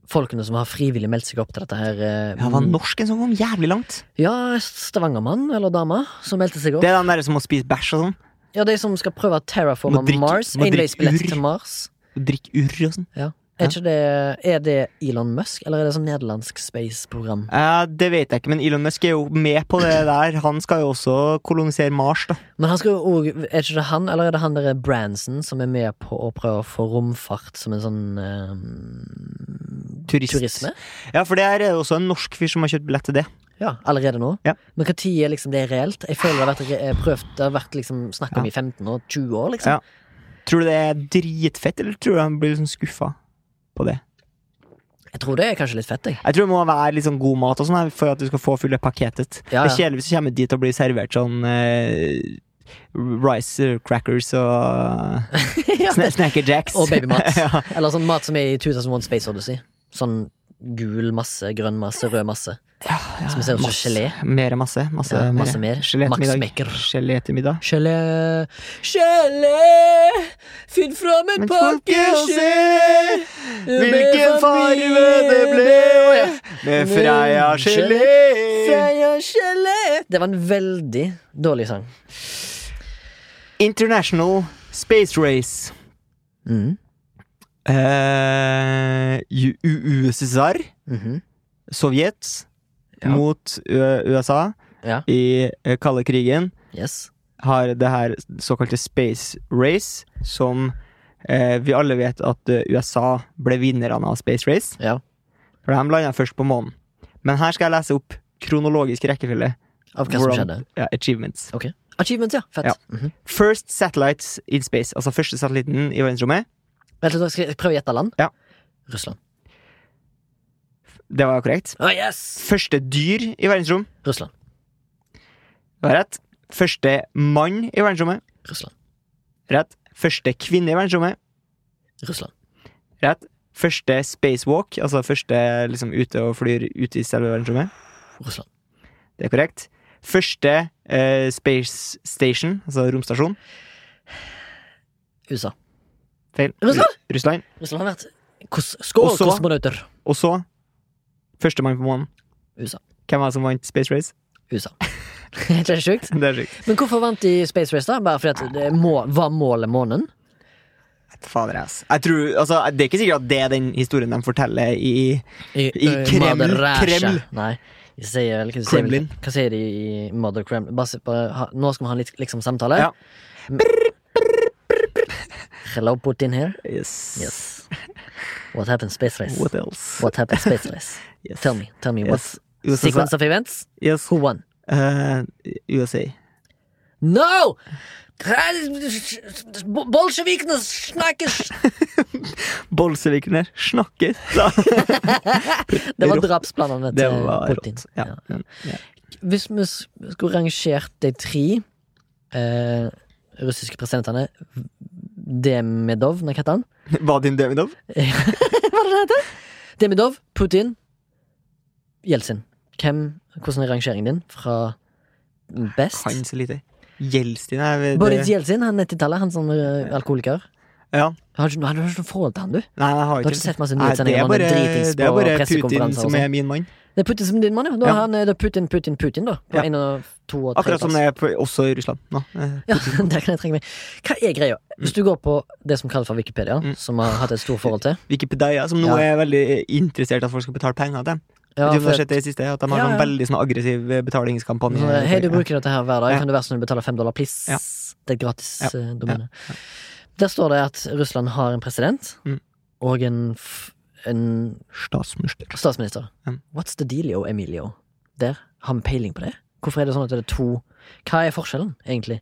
A: folkene som har frivillig meldt seg opp til dette her eh,
B: Ja, det var norsken som kom sånn, jævlig langt.
A: ja, Stavangermann eller dame som meldte seg opp.
B: Det er den der som må spise bæsj og sånn.
A: Ja, De som skal prøve å terraforme
B: Må drikke-
A: Mars.
B: må drikke
A: Enveisbillett
B: ur.
A: til Mars.
B: Og drikke urr og sånn.
A: Er,
B: Ja.
A: ikke det, er det Elon Musk, eller er det sånn nederlandsk space-program?
B: Eh, det vet jeg ikke, men Elon Musk er jo med på det der. Han skal jo også kolonisere Mars, da.
A: Men han skal jo òg Er ikke det han, eller er det han der Branson som er med på å prøve å få romfart som en sånn eh,
B: Turist.
A: turisme?
B: Ja, for det her er det også en norsk fyr som har kjøpt billett til det.
A: Ja, Allerede nå?
B: Ja.
A: Men når er liksom det reelt? Jeg føler det har vært re- prøvd Det har vært liksom snakk om
B: Ja.
A: i 15 år, 20 år, liksom.
B: Ja. Tror du det er dritfett, eller tror du han blir liksom skuffa på det?
A: Jeg tror det er kanskje litt fett, jeg.
B: Jeg tror det må være litt sånn god mat og sånn her for at du skal få fulle pakketet.
A: Ja, ja.
B: Det er kjedelig hvis du kommer dit og blir servert sånn eh, rice crackers og sna snacker jacks.
A: Og babymat.
B: ja.
A: Eller sånn mat som er i 2001 Space Odyssey. Sånn gul masse, grønn masse, rød masse.
B: ja,
A: Som ser ut som gelé.
B: Mere masse. Masse,
A: Ja, masse
B: mere.
A: mer.
B: Gelé
A: Max
B: til middag.
A: Maker.
B: Gelé til middag.
A: Gelé, gelé, finn fram en
B: Men
A: pakke
B: folket ser hvilken farve det ble med Freia gelé.
A: Freia gelé. Det var en veldig dårlig sang.
B: International Space Race.
A: Mm.
B: Eh, U- U- USSR,
A: Mhm.
B: Sovjet,
A: Ja.
B: mot Ø- USA
A: Ja.
B: i eh, kalde krigen,
A: Yes.
B: har det her såkalte Space Race, som eh, vi alle vet at eh, USA ble vinnerne av Space Race.
A: Ja.
B: For de landa først på månen. Men her skal jeg lese opp kronologisk rekkefølge.
A: Av hva som
B: hvordan-
A: skjedde.
B: Ja, achievements.
A: Ok. Achievements, ja. Fett.
B: Ja.
A: Mhm.
B: First satellites in space, altså første satellitten i verdensrommet.
A: Vent litt, skal jeg prøve å gjette land?
B: Ja.
A: Russland.
B: Det var korrekt.
A: Å, yes!
B: Første dyr i verdensrom.
A: Russland.
B: Det var rett. Første mann i verdensrommet.
A: Russland.
B: Rett. Første kvinne i verdensrommet.
A: Russland.
B: Rett. Første spacewalk, altså første liksom ute og flyr ute i selve verdensrommet.
A: Russland.
B: Det er korrekt. Første eh, space station, altså romstasjon.
A: USA.
B: Feil.
A: Russland?
B: Ru- Russland.
A: Russland har vært Kos Skål,
B: Også-
A: kosmonauter!
B: Og så Førstemann på månen.
A: USA.
B: Hvem var det som vant Space Race?
A: USA. Er ikke det sjukt?
B: Det er sjukt.
A: Men hvorfor vant de Space Race, da? Bare fordi at det må, var målet månen?
B: Fader, ass. Jeg tror, altså, det er ikke sikkert at det er den historien de forteller i
A: I, eh,
B: I Kreml-
A: Mother Russia.
B: Kreml.
A: Nei. De sier vel, hva, sier vel-
B: Kremlin.
A: hva sier de i Mother Kremlin? Bare, se på- ha, nå skal vi ha en litt, liksom samtale.
B: Ja.
A: M- Hello, Putin here.
B: Yes.
A: Yes. What happened, Space Race?
B: What else?
A: What happened, Space Race?
B: Yes.
A: Tell me. Tell me
B: Yes.
A: what
B: USA.
A: sequence of events?
B: Yes.
A: Who won?
B: Eh, USA.
A: No! Bolsjevikene snakkes
B: Bolsevikerne snakker! Da.
A: Det var drapsplanene
B: Det
A: til
B: var
A: Putin.
B: rått. Ja.
A: Ja.
B: Ja.
A: Hvis vi s- skulle rangert de tre eh, russiske presidentene Demidov, nei, hva heter han?
B: Vadim Demidov?
A: Hva er det det heter? Demidov, Putin, Jeltsin. Hvem, hvordan er rangeringen din fra best?
B: Kan så lite. Gjeldstin er det-
A: Boris Jeltsin, han 90-tallet, han som er alkoholiker.
B: Ja.
A: Har du, ikke- har du ikke noe forhold til han, du?
B: Nei, jeg har
A: Du har ikke
B: ikke
A: sett masse
B: Nei, det
A: nyhetssendinger
B: er
A: om han er
B: bare,
A: dritings
B: det er
A: på
B: bare Putin
A: pressekonferanser og
B: som
A: sånn?
B: er min mann.
A: Det er Putin som er din mann, ja. Da
B: Ja.
A: er han eh, da Putin, Putin, Putin, da. På
B: Ja.
A: en og to og tre
B: Akkurat som det er på, også i Russland nå. Eh,
A: Ja, der kan jeg trenge meg. Hva er greia? Hvis du går på det som kalles for Wikipedia,
B: Mm.
A: som har hatt et stort forhold til
B: Wikipedia, som nå
A: Ja.
B: er veldig interessert i at folk skal betale penger til dem.
A: ja,
B: Vet du om du har
A: for,
B: sett det i siste, at De har
A: Ja,
B: sånn
A: ja.
B: veldig sånn aggressiv eh, betalingskampanje.
A: sånn, Hei, du bruker dette her hver dag.
B: Ja.
A: Kan du være sånn du betaler fem dollar, please?
B: Ja.
A: Det er et gratis
B: Ja.
A: eh, domene. Der står det at Russland har en president
B: Mm.
A: og en, f en
B: Statsminister.
A: statsminister.
B: Ja.
A: What's the dealio, Emilio? Der har vi peiling på det. Hvorfor er det sånn at det er to Hva er forskjellen, egentlig?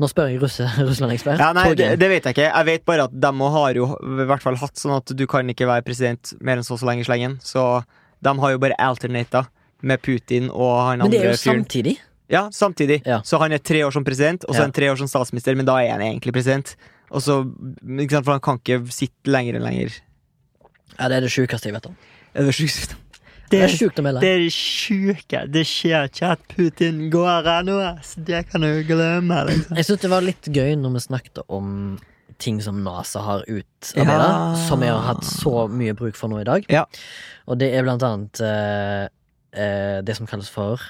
A: Nå spør jeg russe- Russland-ekspert.
B: Ja, nei,
A: Torgrim.
B: det, det vet jeg ikke. Jeg vet bare at de også har jo i hvert fall hatt sånn at du kan ikke være president mer enn så og så lenge i slengen. Så de har jo bare alternata med Putin og han
A: Men det er jo
B: andre fyren.
A: samtidig.
B: Ja, samtidig.
A: Ja.
B: Så han er tre år som president, og
A: Ja.
B: så er han tre år som statsminister, men da er han egentlig president. Og så, ikke sant, For han kan ikke sitte lenger enn lenger.
A: Ja, det er det sjukeste jeg vet om.
B: Er det sjukt?
A: Det er sjukt å melde.
B: er sjuke. Det skjer ikke at Putin går ennå, så det kan du glemme. liksom.
A: Jeg synes det var litt gøy når vi snakket om ting som NASA har utarbeidet,
B: Ja.
A: som jeg har hatt så mye bruk for nå i dag.
B: Ja.
A: Og det er blant annet eh, eh, det som kalles for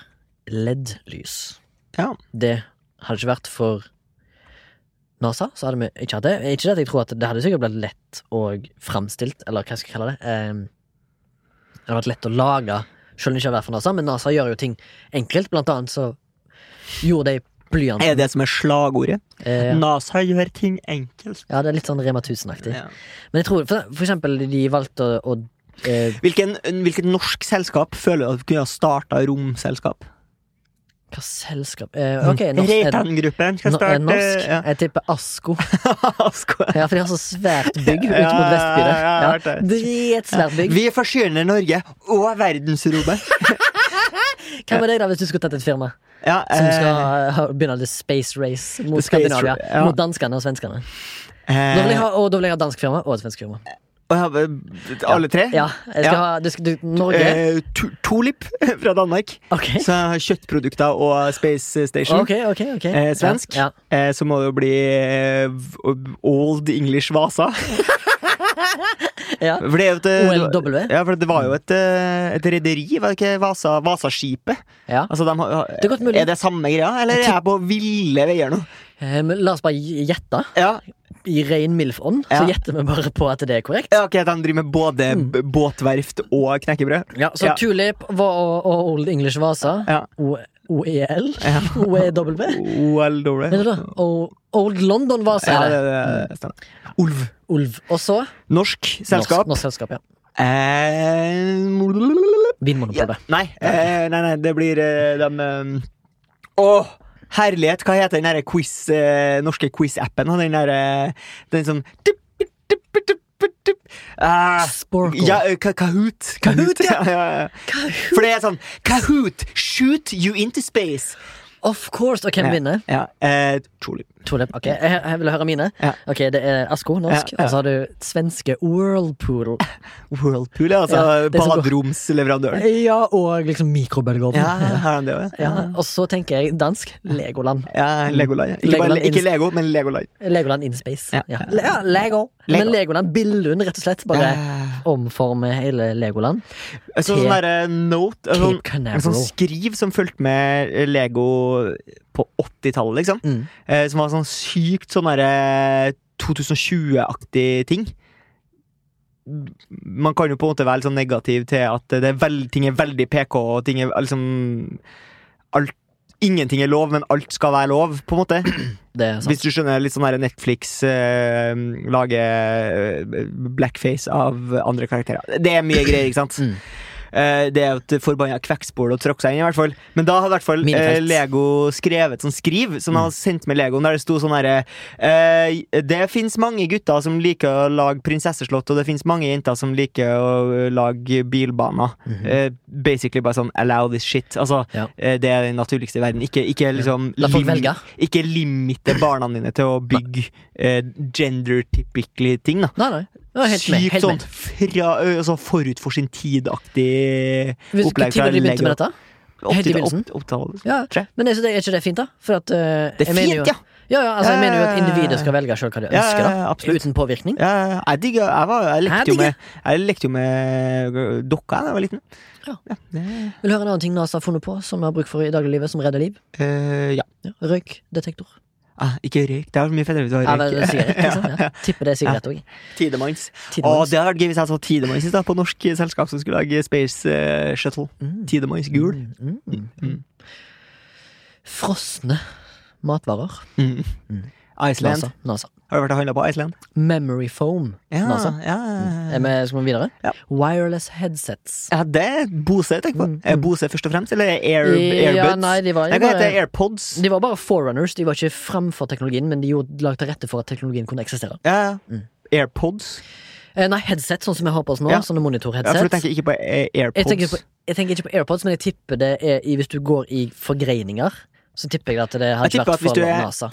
A: LED-lys.
B: Ja.
A: Det hadde ikke vært for NASA, så hadde vi ikke hatt det. Ikke det at jeg tror at det hadde sikkert blitt lett og framstilt, eller hva skal jeg kalle det. Eh, det hadde vært lett å lage, selv om det ikke hadde vært for NASA, men NASA gjør jo ting enkelt. Blant annet så gjorde de blyanten
B: Er det som er slagordet?
A: eh,
B: NASA gjør ting enkelt.
A: ja, det er litt sånn Rema 1000-aktig. Men jeg tror for, for eksempel de valgte å, å eh,
B: Hvilken, hvilket norsk selskap føler du at kunne ha starta romselskap?
A: Hva selskap eh,
B: Mm.
A: Ok, norsk, er,
B: Reitan-gruppen
A: no, er norsk.
B: ja.
A: Jeg tipper Asko.
B: Asko.
A: Ja, for de har så svært bygg ute
B: Ja,
A: mot Vestby der.
B: ja, jeg har
A: Ja,
B: hørt det.
A: Dritsvært bygg.
B: Vi forsyner Norge og verdensrommet.
A: Hvem er deg da hvis du skulle tatt et firma
B: Ja,
A: som
B: eh,
A: skal eh, ha- begynne det space race mot
B: space
A: Skandinavia?
B: ra- ja.
A: Mot danskene og svenskene. Da vil jeg
B: eh,
A: ha, og da vil jeg ha dansk firma og et svensk firma.
B: å ja, eh, Alle tre?
A: Ja, jeg skal
B: Ja.
A: ha du, skal- du, Norge.
B: Eh, to, Tulip fra Danmark.
A: Ok.
B: Så jeg har kjøttprodukter og Space Station.
A: Ok, ok, ok.
B: Eh, svensk.
A: Ja,
B: Eh, så må det jo bli eh, v- Old English Vasa.
A: ja. ja.
B: For det er jo et, eh,
A: OLW.
B: Ja, for det var jo et, eh, et rederi, var det ikke? Vasa, Vasaskipet.
A: Ja.
B: Altså, de har,
A: Det er godt mulig.
B: er det samme greia, eller er jeg på ville veier nå?
A: Eh, men la oss bare gj- gjette.
B: Ja,
A: I ren MILF-ånd
B: Ja.
A: så gjetter vi bare på at det er korrekt.
B: ja ok, De driver med både
A: Mm.
B: b- båtverft og knekkebrød.
A: Ja, så
B: Ja.
A: Tulip var, og, og Old English Vasa.
B: Ja.
A: O- E, OEL.
B: Ja.
A: OEW.
B: OLW.
A: Mener E, du Mm. det? Og Old London Vasa
B: Ja,
A: er det.
B: det, det, det stemmer. Ulv.
A: Ulv. Og så
B: Norsk selskap.
A: Norsk, norsk selskap, ja.
B: Eh, Ja,
A: Vinmonopolet.
B: nei, eh, nei, nei, det blir eh, de eh, Åh, herlighet! Hva heter den der quiz, eh, norske quiz-appen? Og Den der eh, Den sånn tup, tup, tup, tup, tup, tup. Eh,
A: Sporkle.
B: ja, eh, Ka- Kahoot.
A: Kahoot,
B: ja. ja, ja.
A: Kahoot.
B: For det er sånn Kahoot, shoot you into space.
A: Of course! Og hvem vinner?
B: Ja, eh, Tulip.
A: Tulip. Ok, jeg, jeg vil høre mine.
B: Ja.
A: Ok, Det er Asko, norsk.
B: Ja, ja.
A: Og så har du svenske Whirlpool.
B: Whirlpool, ja, altså
A: Ja, det er så godt.
B: baderomsleverandøren.
A: Ja, og liksom mikrobølgeovn.
B: Ja, har han det òg?
A: Ja, Og så tenker jeg dansk. Legoland.
B: Ja, Legoland. Ikke, bare,
A: Legoland
B: ikke
A: Inst-
B: Lego, men Legoland.
A: Legoland in space.
B: Ja.
A: Ja. Le- Ja, Lego.
B: Lego.
A: Men Legoland Billund, rett og slett. Bare
B: Ja.
A: omforme hele Legoland.
B: Altså, sånn derre note altså,
A: Cape Canaveral.
B: En sånn skriv som fulgte med Lego på 80-tallet, liksom.
A: Mm.
B: Eh, som var sånn sykt sånn derre 2020-aktig ting. Man kan jo på en måte være litt sånn negativ til at det er veld, ting er veldig PK, og ting er liksom alt, Ingenting er lov, men alt skal være lov, på en måte.
A: Det er sant.
B: Hvis du skjønner litt sånn derre Netflix eh, lager eh, blackface av andre karakterer. Det er mye greier, ikke sant?
A: Mm.
B: Eh, det er jo et forbanna kvekkspor å tråkke seg inn i, hvert fall. Men da hadde i hvert fall eh,
A: Minefelt. Mm.
B: Lego skrevet sånn skriv, som de hadde sendt med Legoen, der det sto sånn herre eh, Det fins mange gutter som liker å lage prinsesseslott, og det fins mange jenter som liker å eh, lage bilbaner. Eh, basically bare sånn allow this shit. Altså,
A: Mhm. Ja.
B: eh, det er den naturligste i verden. Ikke, ikke liksom
A: La folk
B: lim-
A: velge.
B: Ikke limite barna dine til å bygge eh, gender-typically ting, da.
A: Nei, nei. Jeg er helt med.
B: Sykt
A: Helt
B: sånn
A: med.
B: fra, ø, altså forut for sin tid-aktig
A: Hvis-
B: opplegg
A: Når
B: fra
A: de begynte
B: Lego.
A: med dette? Helt i begynnelsen? Ja.
B: Tre.
A: Men er ikke det, er ikke det fint, da? For at, eh,
B: liksom. Det er
A: jeg mener
B: fint,
A: jo,
B: ja.
A: Ja, ja, altså, jeg mener jo at
B: Ja, ja, ja, ja.
A: individet skal velge sjøl hva de
B: Ja, ja,
A: ønsker,
B: ja,
A: da.
B: absolutt.
A: Uten påvirkning.
B: Ja, ja, ja. jeg digger Jeg, var, jeg, lekte jo
A: digger.
B: med, jeg lekte jo med ø, dokka da jeg var liten.
A: Ja.
B: det-
A: Vil du høre en annen ting NASA har funnet på, som vi har bruk for i dagliglivet, som redder liv?
B: ø, øh, ja.
A: Ja. Røykdetektor.
B: Ah, ikke røyk. Det er mye fettere hvis du
A: Ja,
B: har
A: vel,
B: røyk.
A: sigarett, liksom. Ja. Tipper det er sigarett òg.
B: Tidemanns. Å, det hadde vært gøy hvis jeg så Tidemanns i stedet, på norsk selskap som skulle lage Space ø, Shuttle. Tidemanns gul.
A: Mm, mm,
B: Mm.
A: Frosne matvarer.
B: Mm.
A: Mm.
B: Iceland.
A: NASA. NASA.
B: Har du vært og handla på Iceland?
A: Memory foam.
B: Ja,
A: NASA. Mm.
B: ja, ja.
A: Er vi, skal vi videre?
B: Ja.
A: Wireless headsets.
B: Ja, det er Bose jeg tenker på.
A: Mm,
B: Er Bose først og fremst, eller er Air, Airbuds?
A: Ja, nei, de var,
B: nei,
A: de
B: hva heter
A: bare,
B: AirPods?
A: de var bare forerunners. De var ikke framfor teknologien, men de gjorde- lagde til rette for at teknologien kunne eksistere.
B: Ja, ja.
A: Mm.
B: AirPods?
A: Eh, nei, headset, sånn som jeg har på oss nå.
B: Ja.
A: Sånne
B: Ja, for du
A: monitor-headset.
B: tenker ikke på eh,
A: jeg,
B: AirPods?
A: tenker på- jeg tenker ikke på AirPods, men jeg tipper det er i, hvis du går i forgreininger. Så tipper jeg at det hadde
B: jeg
A: ikke
B: tipper
A: vært
B: at hvis du
A: for
B: er
A: NASA.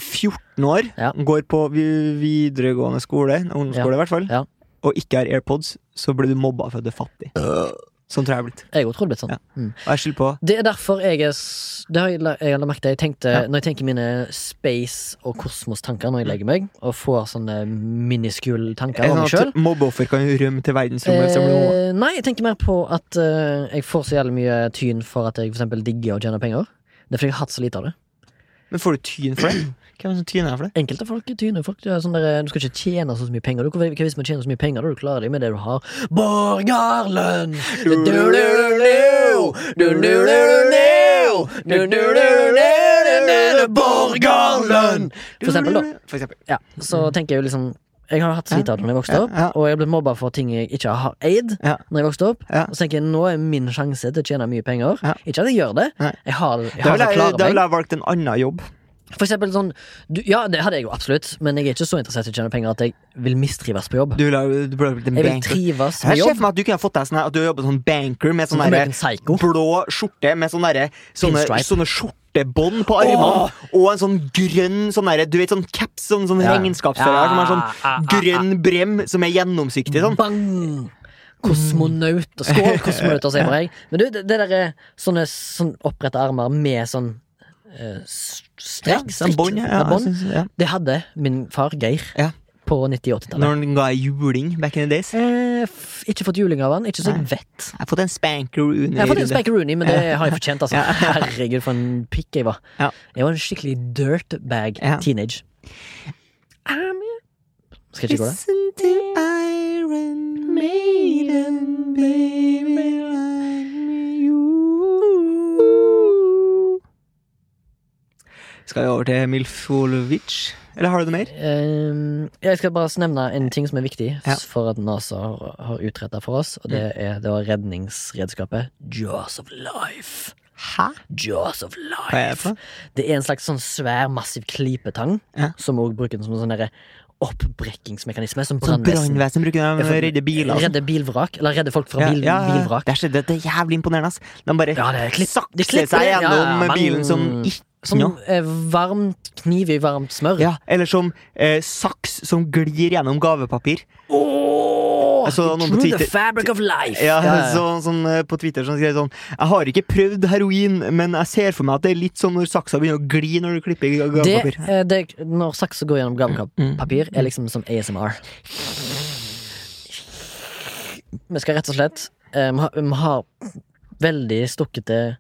B: 14 år,
A: Ja.
B: går på vi- videregående skole, ungdomsskole i hvert fall,
A: Ja.
B: og ikke har AirPods, så blir du mobba for at du er fattig. Sånn tror jeg jeg er blitt.
A: Jeg tror det blitt sånn.
B: Ja.
A: Mm.
B: Og jeg skylder på
A: Det er derfor jeg er s- Det har jeg, la- jeg la merke til. Jeg tenkte,
B: Ja.
A: Når jeg tenker mine space- og kosmostanker når jeg legger meg, og får sånne miniskule tanker
B: er
A: om
B: det
A: meg
B: sånn
A: sjøl
B: at mobbeoffer kan rømme til verdensrommet. hvis de blir mobba?
A: eh, Nei, jeg tenker mer på at eh, jeg får så jævlig mye tyn for at jeg for eksempel digger å tjene penger. Det er fordi jeg har hatt så lite av det.
B: Men får du tyn for det? Hvem er det som tyner for det?
A: Enkelte folk tyner folk. Det er sånn der, eh, du skal ikke tjene så mye penger. Du, hva hva hvis man tjener så mye penger, da du klarer deg med det du har? Borgarlønn! Du-du-du-du-du! Du-du-du-du-du! Du-du-du-du-du-du-du! Borgarlønn! For eksempel, da.
B: For eksempel.
A: Ja, så tenker jeg jo liksom Jeg har hatt så lite av det når jeg vokste
B: Ja,
A: opp,
B: ja.
A: og jeg ble mobba for ting jeg ikke har eid.
B: Ja.
A: Når jeg vokste opp
B: Ja.
A: Og så tenker jeg nå er min sjanse til å tjene mye penger.
B: Ja.
A: Ikke at jeg gjør det,
B: Nei.
A: jeg har, jeg
B: Da
A: har så
B: ville jeg, da
A: klare
B: ville
A: meg.
B: jeg valgt en annen jobb.
A: For eksempel sånn du, Ja, det hadde jeg jo absolutt, men jeg er ikke så interessert i å tjene penger at jeg vil mistrives på jobb.
B: Du ville, du burde blitt en
A: Jeg vil
B: banker.
A: trives
B: Jeg
A: med
B: ser
A: jobb.
B: for meg at du kunne fått deg sånn her, at du jobber som banker med
A: Som
B: sånn derre
A: en psycho.
B: blå skjorte med sånn derre sånne,
A: Pinstripe.
B: sånne skjortebånd på armene og en sånn grønn sånn derre Du vet sånn caps, sånn, sånn
A: Ja.
B: regnskapsfører
A: Ja,
B: som har
A: ja, ja,
B: sånn grønn brem som er gjennomsiktig sånn.
A: Bang! Kosmonauter. Skål, kosmonauter, sier jeg. Men du, det, det der er sånne sånn oppretta armer med sånn eh, s- strekk,
B: sånn
A: strikk,
B: bånd, ja, ja,
A: med bånd.
B: jeg synes- ja.
A: Det hadde min far Geir
B: Ja.
A: på 98-tallet.
B: Når han ga ei juling back in the days.
A: Eh, f- ikke fått juling av han, ikke så jeg vet.
B: Jeg har fått en spanker under
A: Jeg har fått en
B: i det.
A: Spank Rooney, men det har jeg fortjent. altså Herregud, for en pikk jeg var.
B: Ja.
A: Jeg var en skikkelig dirtbag
B: Ja. Um,
A: teenage. I'm a- Skal jeg ikke gå det?
B: Listen to Iron Maiden, baby, I'm you. Skal vi over til Milfolovic? Eller har du noe mer?
A: Ehm, jeg skal bare nevne en ting som er viktig
B: Ja. Mm.
A: for at NASA har, har utretta for oss, og det er det var redningsredskapet Jaws of Life.
B: Hæ?
A: Jaws of Life.
B: Hva er det for noe?
A: Det er en slags sånn svær, massiv klipetang
B: Ja.
A: som også bruker den som en sånn derre oppbrekkingsmekanisme. Som
B: Sånn
A: brannvesen.
B: brannvesen bruker de for å redde biler. og sånn.
A: Redde bilvrak, eller redde folk fra bil, bilvrak.
B: Det, er, så- det det er jævlig imponerende. ass. De bare
A: Ja, det er klipp- de
B: sakser
A: klipper
B: seg
A: det, ja,
B: gjennom
A: ja,
B: bilen
A: men-
B: som ikke
A: Som
B: noe.
A: eh, varmt kniv i varmt smør.
B: Ja, eller som eh, saks som glir gjennom gavepapir.
A: Åh,
B: Jeg så noen på
A: through the
B: Twitter-
A: fabric of life!
B: Ja,
A: ja.
B: Så, sånn, eh, på Twitter som skrev sånn Jeg har ikke prøvd heroin, men jeg ser for meg at det er litt som når saksa begynner å gli når du klipper ga-
A: Det,
B: gavepapir.
A: eh, det, når sakser går gjennom
B: Mm.
A: gavepapir, er liksom som ASMR. Vi skal rett og slett eh, Vi har, vi har veldig stukkete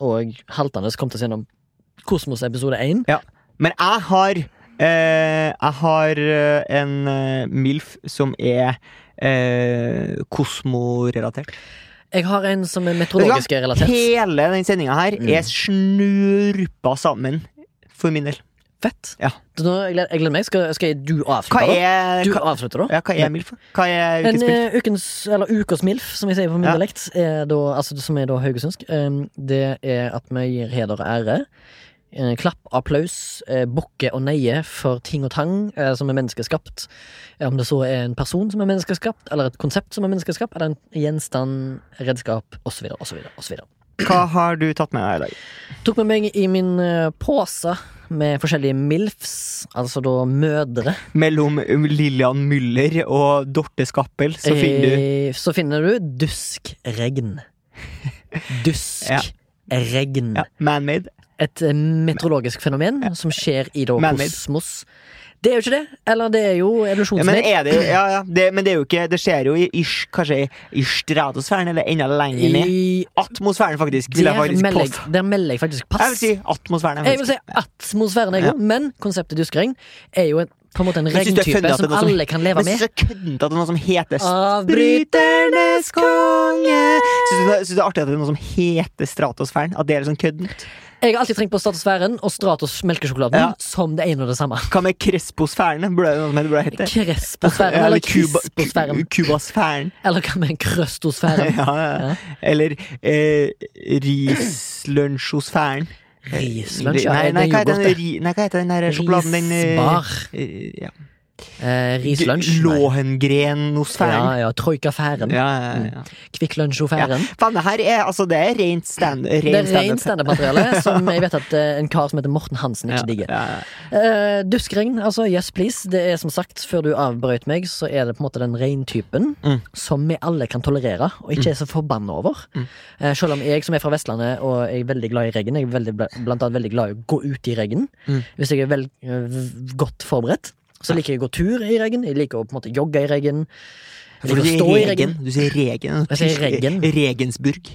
A: og haltende kommet oss gjennom Kosmos episode 1.
B: Ja. Men jeg har eh, Jeg har eh, en eh, MILF som er eh, kosmorelatert.
A: Jeg har en som er
B: Vet du hva?
A: meteorologisk relatert.
B: Hele den sendinga her er snurpa sammen, for min del.
A: Fett.
B: Ja.
A: Så nå, jeg, gleder, jeg gleder meg. Skal, skal jeg, du
B: Hva
A: avslutte, da?
B: er,
A: Du
B: hva,
A: avslutter, da?
B: ja, hva er MILF? Hva er
A: En
B: ukens MILF?
A: eh, ukens, eller ukas MILF, som jeg sier på min
B: Ja.
A: dialekt, er da, altså, som er da haugesundsk, eh, det er at vi gir heder og ære. eh, Klapp, applaus, eh, bukke og neie for ting og tang eh, som er menneskeskapt. Eh, Om det så er en person som er menneskeskapt, eller et konsept som er menneskeskapt, eller en gjenstand, redskap, osv., osv., osv.
B: Hva har du tatt med deg i dag?
A: Tok med meg i min eh, pose med forskjellige MILFs, altså da mødre.
B: Mellom Lillian Müller og Dorte Skappel så finner du
A: Eh, Så finner du duskregn.
B: Ja.
A: Duskregn.
B: ja, Manmade.
A: Et eh, meteorologisk fenomen som skjer i da
B: Man-made.
A: kosmos. Det er jo ikke det. Eller det er jo
B: Ja, men,
A: evolusjonsmed.
B: er det, ja, ja, det, men det er jo ikke Det skjer jo i, i kanskje i stratosfæren, eller enda lenger ned.
A: I-
B: Atmosfæren, faktisk. Vil jeg
A: der,
B: faktisk
A: melder jeg,
B: påstå.
A: der melder jeg faktisk
B: Jeg vil
A: pass.
B: si atmosfæren.
A: Jeg vil
B: faktisk.
A: si atmosfæren, jeg
B: Ja.
A: òg, men konseptet duskregn er jo en, på en måte en
B: Men synes du det er funny
A: regntype
B: at det er
A: som
B: noe som-
A: alle kan leve
B: Men synes
A: med.
B: du det er køddent at det er noe som heter
A: Avbryt
B: Bryternes konge! Syns du, det- synes du det er artig at det er noe som heter stratosfæren? At det er litt sånn køddent?
A: Jeg har alltid tenkt på Stratosfæren og Stratos melkesjokoladen
B: Ja.
A: som det ene og det samme.
B: Hva med kresposfæren? Burde det noe som det burde hete?
A: Kresposfæren
B: Ja,
A: eller
B: Cuba-
A: Kisposfæren.
B: Cu- Cubasfæren.
A: Eller hva med krøstosfæren?
B: Ja, ja.
A: Ja.
B: Eller eh, rislunsjosfæren.
A: Rislunsj, ja,
B: Nei,
A: det
B: nei,
A: er jo
B: hva heter
A: godt,
B: den
A: det.
B: ri- Nei, hva heter den der sjokoladen? Den eh,
A: Risbar.
B: eh, ja.
A: Eh, rislunsj? Nei.
B: Låhengrenosfæren.
A: Ja, Mm. ja. Troikafæren.
B: Ja, ja, ja.
A: Kvikklunsjofæren.
B: Faen, det her er altså Det er rent stand ren
A: Det er
B: standup.
A: rent standup-materiale som jeg vet at eh, en kar som heter Morten Hansen, ikke
B: Ja,
A: digger.
B: ja, ja.
A: Eh, duskregn, altså yes please. Det er som sagt, før du avbrøt meg, så er det på en måte den reintypen
B: Mm.
A: som vi alle kan tolerere, og ikke er så forbanna over. Eh, selv om jeg som er fra Vestlandet og er veldig glad i regn, jeg er veldig, bla- blant annet veldig glad i å gå ut i regn.
B: Mm.
A: Hvis jeg er vel, eh, v- godt forberedt, så liker jeg å gå tur i regn. Jeg liker å på en måte jogge i regn. Jeg
B: For du
A: liker å
B: sier
A: stå i
B: Regen.
A: regn.
B: Du sier Regen.
A: Jeg sier Regen.
B: Regensburg.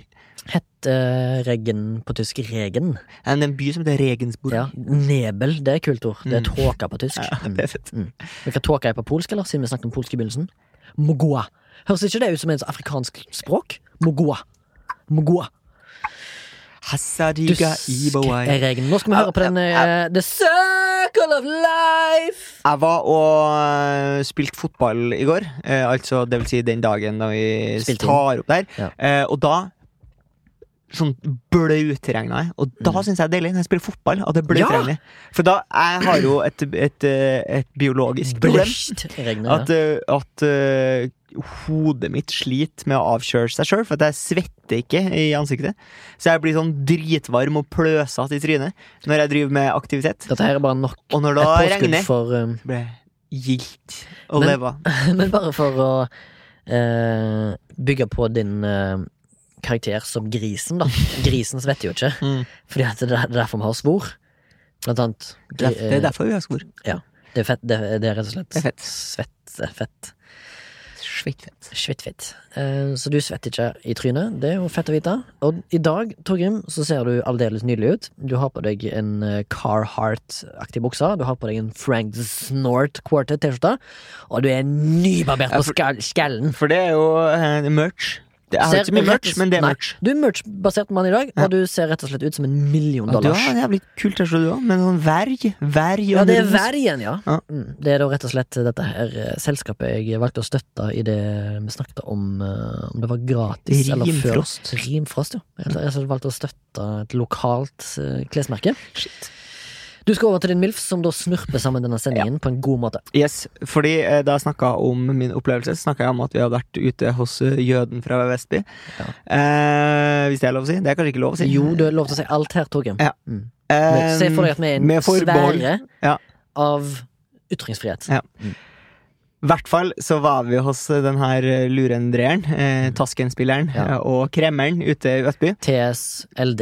A: Hett eh, regn på tysk regen.
B: Det er en by som heter Regensburg.
A: Ja. Nebel, det er et kult ord. Det er tåke på tysk.
B: Ja,
A: Mm.
B: det er fett.
A: Hvilken tåke er på polsk, eller? Siden vi snakket om polsk i begynnelsen. Mogoa. Høres ikke det ut som et afrikansk språk? Mogoa. Mogoa.
B: Hasadiga Ibawai.
A: Duskregn. Nå skal vi høre på den eh, The Circle of Life.
B: Jeg var og eh, spilte fotball i går, eh, altså det vil si den dagen da vi
A: Spilte inn.
B: tar opp der,
A: Ja.
B: eh, og da Sånn blautregna jeg, og
A: Mm.
B: da syns jeg det er deilig når jeg spiller fotball. At det er blautregner. For da jeg har jo et, et, eh, et biologisk problem.
A: Bløstregnet.
B: At, eh, at eh, hodet mitt sliter med å avkjøre seg sjøl, for at jeg svetter ikke i ansiktet. Så jeg blir sånn dritvarm og pløsete i trynet når jeg driver med aktivitet.
A: Dette her er bare nok
B: Og når
A: et
B: det
A: påskudd
B: regner
A: for eh,
B: ble gildt å
A: Men- Eh,
B: leve av.
A: Men bare for å eh, bygge på din eh, karakter som grisen, da. Grisen svetter jo ikke,
B: Mm.
A: fordi at det er derfor vi har svor. Blant annet. eh,
B: Det er- det er derfor vi har skor.
A: Det er, fett, det, er- det er rett og slett
B: Det er fett. eh,
A: svette, fett.
B: Sveitfett.
A: Svittfitt. Eh, så du svetter ikke i trynet. Det er jo fett å vite. Og i dag, Torgrim, så ser du aldeles nydelig ut. Du har på deg en eh, Carhartt-aktig bukse. Du har på deg en Frank Snort Quartet-T-skjorte. Og du er nybarbert
B: Ja,
A: på
B: for-
A: skal skallen.
B: For det er jo eh, merch. Det er jo ikke så mye merch, men det er
A: Nei,
B: merch.
A: Du er merch-basert mann i dag, og du ser rett og slett ut som en million
B: Ja, du
A: dollars.
B: har en jævlig kul T-skjorte, du òg, med sånn verg. Verg
A: Ja, det er
B: under den.
A: vergen, ja.
B: Ja.
A: Mm. Det er da rett og slett dette her eh, selskapet jeg valgte å støtte i det vi snakket om, eh, om det var gratis eller før.
B: Rimfrost.
A: Rimfrost, ja. Jeg har rett og slett valgt å støtte et lokalt eh, klesmerke.
B: Shit.
A: Du skal over til din MILF, som da snurper sammen denne sendingen på en god måte.
B: Yes, fordi eh, Da jeg snakka om min opplevelse, snakka jeg om at vi hadde vært ute hos eh, jøden fra Vestby.
A: Ja.
B: Eh, hvis det er lov å si? Det er kanskje ikke lov å si.
A: Jo, du har lov til å si alt her, Torgrim.
B: Ja.
A: Mm.
B: Eh,
A: Se for deg at vi er en
B: med forbehold.
A: sfære
B: Ja.
A: av ytringsfrihet.
B: Ja. I hvert fall så var vi hos eh, den her eh, lurendreeren, eh, Tasken-spilleren
A: Mm. Ja.
B: eh, og kremmeren ute i Vestby.
A: TS, LD,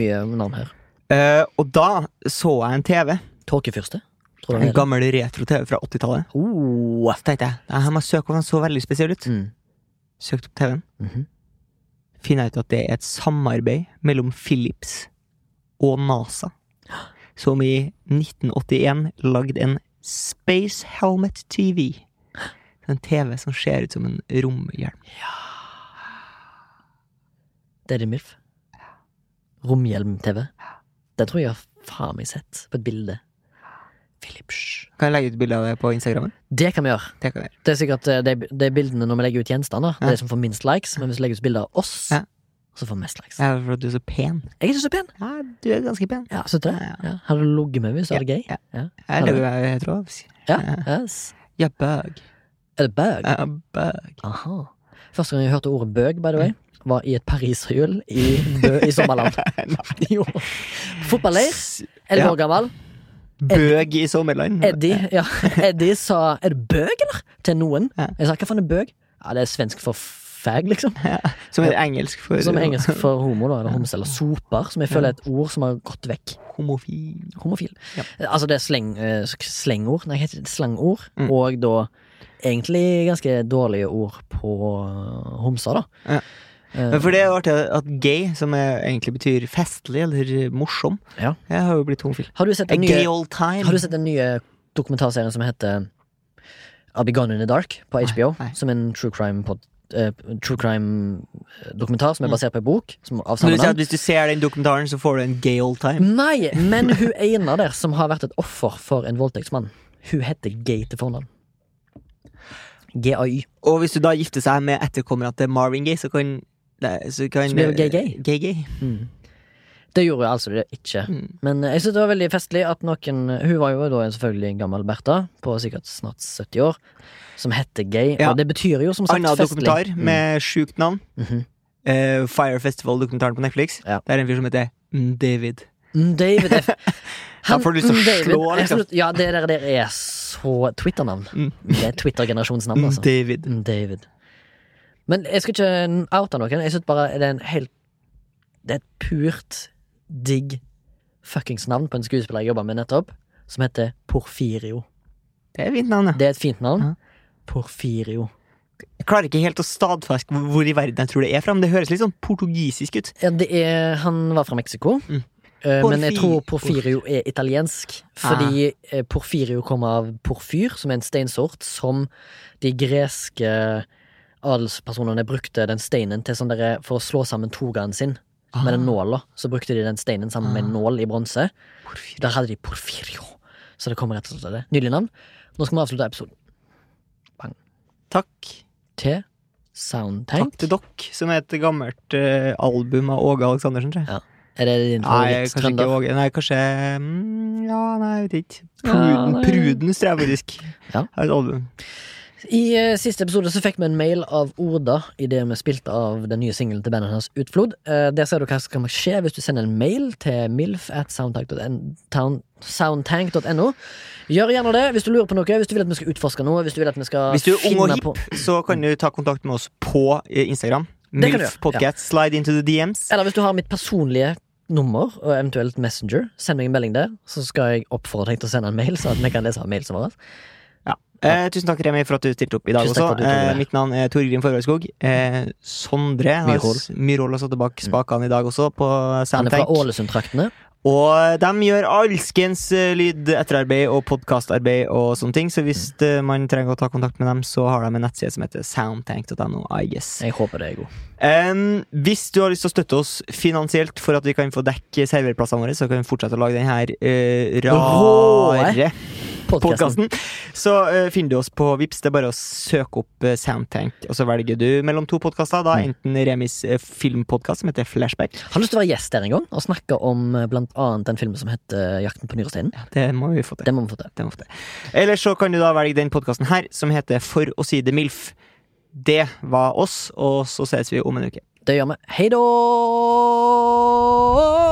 A: mye navn her.
B: Eh, og da så jeg en TV.
A: Tåkefyrste, tror du
B: En
A: det er?
B: gammel retro-TV fra 80-tallet.
A: Oh.
B: Så tenkte jeg "Nei, jeg må søke om den så veldig spesiell ut.
A: Mm.
B: Søkte opp TV-en.
A: Mhm.
B: Finner jeg ut at det er et samarbeid mellom Philips og NASA, som i 1981 lagde en Space Helmet TV. En TV som ser ut som en romhjelm.
A: Det er din MILF. Romhjelm-TV. Det tror jeg jeg har faen meg sett på et bilde. Philips.
B: Kan jeg legge ut bilde av det på Instagrammen?
A: Det kan vi gjøre.
B: Det kan jeg gjøre.
A: Det er sikkert eh, de, de bildene når vi legger ut gjenstander, det
B: Ja.
A: er som får minst likes. Men hvis vi legger ut bilder av oss,
B: Ja.
A: så får vi mest likes.
B: Ja, for at du er så pen.
A: Jeg er ikke så pen.
B: Ja, du er ganske pen.
A: Ja, synes du det?
B: Ja,
A: Ja. Har du ligget med meg, så er det gøy.
B: ja.
A: Ja.
B: Jeg lager meg helt råd.
A: Ja,
B: Ja.
A: yes.
B: Ja, bøg.
A: Er det bøg?
B: Ja, bøg.
A: Aha. Første gang jeg hørte ordet bøg, by the way,
B: Mm.
A: var i et pariserhjul i Bø i sommerland. jo. Fotballleir.
B: S-
A: Elleve
B: Ja.
A: år gammel.
B: Bøg i sommerland.
A: Eddie, ja. Eddie sa 'er det bøg', eller? Til noen.
B: Ja.
A: Jeg sa 'hva faen er bøg'? Ja, det er svensk for fag, liksom.
B: Som er engelsk for
A: Som er engelsk for homo, da, eller homse, eller soper, som jeg føler er et ord som har gått vekk.
B: homofil.
A: Homofil.
B: Ja.
A: Altså det er sleng, eh, slengord, nei, heter det slangord,
B: Mm.
A: og da egentlig ganske dårlige ord på homser, da.
B: Ja.
A: Eh,
B: Men for det er jo artig at gay, som er, egentlig betyr festlig eller morsom,
A: Ja.
B: jeg har jo blitt homofil.
A: har, du sett
B: A
A: den nye,
B: gay old time.
A: har du sett den nye dokumentarserien som heter I'll Be Gone in the Dark på HBO?
B: nei.
A: Som en true crime pod, eh, True crime-dokumentar
B: Mm.
A: som er basert på en bok. Som av
B: Så
A: samme
B: du sier
A: navn.
B: at hvis du ser den dokumentaren, så får du en gay old time?
A: Nei, men hun ene der som har vært et offer for en voldtektsmann, hun heter Gay til fornavn. GAY.
B: Og hvis du da gifter seg med etterkommerne til Marvin Gaye, så kan det- Så, kan, eh,
A: Så blir du gay-gay.
B: Gay-gay.
A: Det gjorde altså det ikke.
B: Mm.
A: Men jeg synes det var veldig festlig at noen Hun var jo da selvfølgelig en gammel Bertha, på sikkert snart 70 år, som heter gay.
B: Ja.
A: Og det betyr jo som sagt
B: Anna
A: festlig.
B: dokumentar med sjukt navn.
A: Mhm.
B: Eh, Fire Festival-dokumentaren på Netflix.
A: Ja.
B: Det er en fyr som heter mm, David.
A: Mm, David F.
B: Da får du lyst til å
A: Mm, David.
B: slå,
A: Jeg
B: liksom.
A: får lyst- Ja, det der, der er så Twitter-navn.
B: Mm.
A: Det er Twitter-generasjonsnavn,
B: Mm,
A: altså.
B: David.
A: Mm, David. Men jeg skal ikke oute noen. Jeg synes bare det er en helt Det er et purt digg fuckings navn på en skuespiller jeg jobba med nettopp, som heter Porfirio.
B: Det er et fint navn, ja.
A: Det er et fint navn.
B: Ja.
A: Porfirio.
B: Jeg klarer ikke helt å stadfeste hvor i verden jeg tror det er fra, men det høres litt sånn portugisisk ut.
A: Ja, det er, han var fra Mexico,
B: Mm.
A: Eh, men jeg
B: Porfi- Ah.
A: tror Porfirio er italiensk. Fordi eh, Porfirio kommer av porfyr, som er en steinsort som de greske adelspersonene brukte den steinen til sånn derre- for å slå sammen togaen sin med
B: Ah.
A: den nåla. Så brukte de den steinen sammen med en nål i bronse.
B: Porfyr.
A: Der hadde de Porfirio. Så det kommer rett og slett av det. Nydelig navn. Nå skal vi avslutte episoden
B: Takk.
A: til Soundtank.
B: Takk til dere, som er et gammelt eh, album av Åge Aleksandersen, tror jeg.
A: Er det din
B: Nei, kanskje ikke
A: favoritt-trønder?
B: Åge. Nei, kanskje mm, Ja, nei, jeg vet ikke.
A: Ja,
B: Pruden,
A: nei.
B: Prudens, tror jeg faktisk.
A: Ja.
B: Har et album.
A: I eh, siste episode så fikk vi en mail av Oda i det vi spilte av den nye singelen til bandet hennes Utflod. Eh, der ser du hva som kan skje hvis du sender en mail til milf at soundtank.no. Gjør gjerne det hvis du lurer på noe, hvis du vil at vi skal utforske noe. Hvis du vil at vi skal
B: Hvis du er ung og
A: finne
B: hipp,
A: på
B: så kan du ta kontakt med oss på eh, Instagram.
A: Det kan du
B: Milf
A: gjøre,
B: Podcast. Slide into the DMs.
A: Eller hvis du har mitt personlige nummer og eventuelt Messenger, send meg en melding der, så skal jeg oppfordre deg til å sende en mail, sånn at vi kan lese av mailsen vår.
B: Eh, tusen takk, Remi, for at du stilte opp i dag
A: Tusen takk
B: også.
A: for at du tok
B: Eh,
A: det.
B: mitt navn er Torgrim Forhøgskog. Eh, Sondre har-
A: Myrhol. Mm.
B: Myrhol har satt tilbake spakene i dag også, på
A: Han er fra
B: Soundtank.
A: Ålesund-traktene.
B: Og de gjør alskens eh, lyd etterarbeid og podkastarbeid og sånne ting, så hvis eh, man trenger å ta kontakt med dem, så har de en nettside som heter soundtank.no, I guess.
A: Jeg håper det er god.
B: ah, Em, hvis du har lyst til å støtte oss finansielt for at vi kan få dekke serverplassene våre, så kan vi fortsette å lage den her eh,
A: Rare
B: rare
A: Podcasten.
B: podkasten, så eh, finner du oss på Vips Det er bare å søke opp eh, Soundtank, og så velger du mellom to podkaster. Da enten Remis uh, filmpodkast, som heter Flashback.
A: Har lyst til å være gjest der en gang og snakke om eh, blant annet den filmen som heter eh, Jakten på nyresteinen.
B: Det må vi få til.
A: Det må vi få til.
B: Det må ofte. Eller så kan du da velge den podkasten her, som heter For å si det MILF. Det var oss, og så ses vi om en uke.
A: Det gjør vi. Hei da!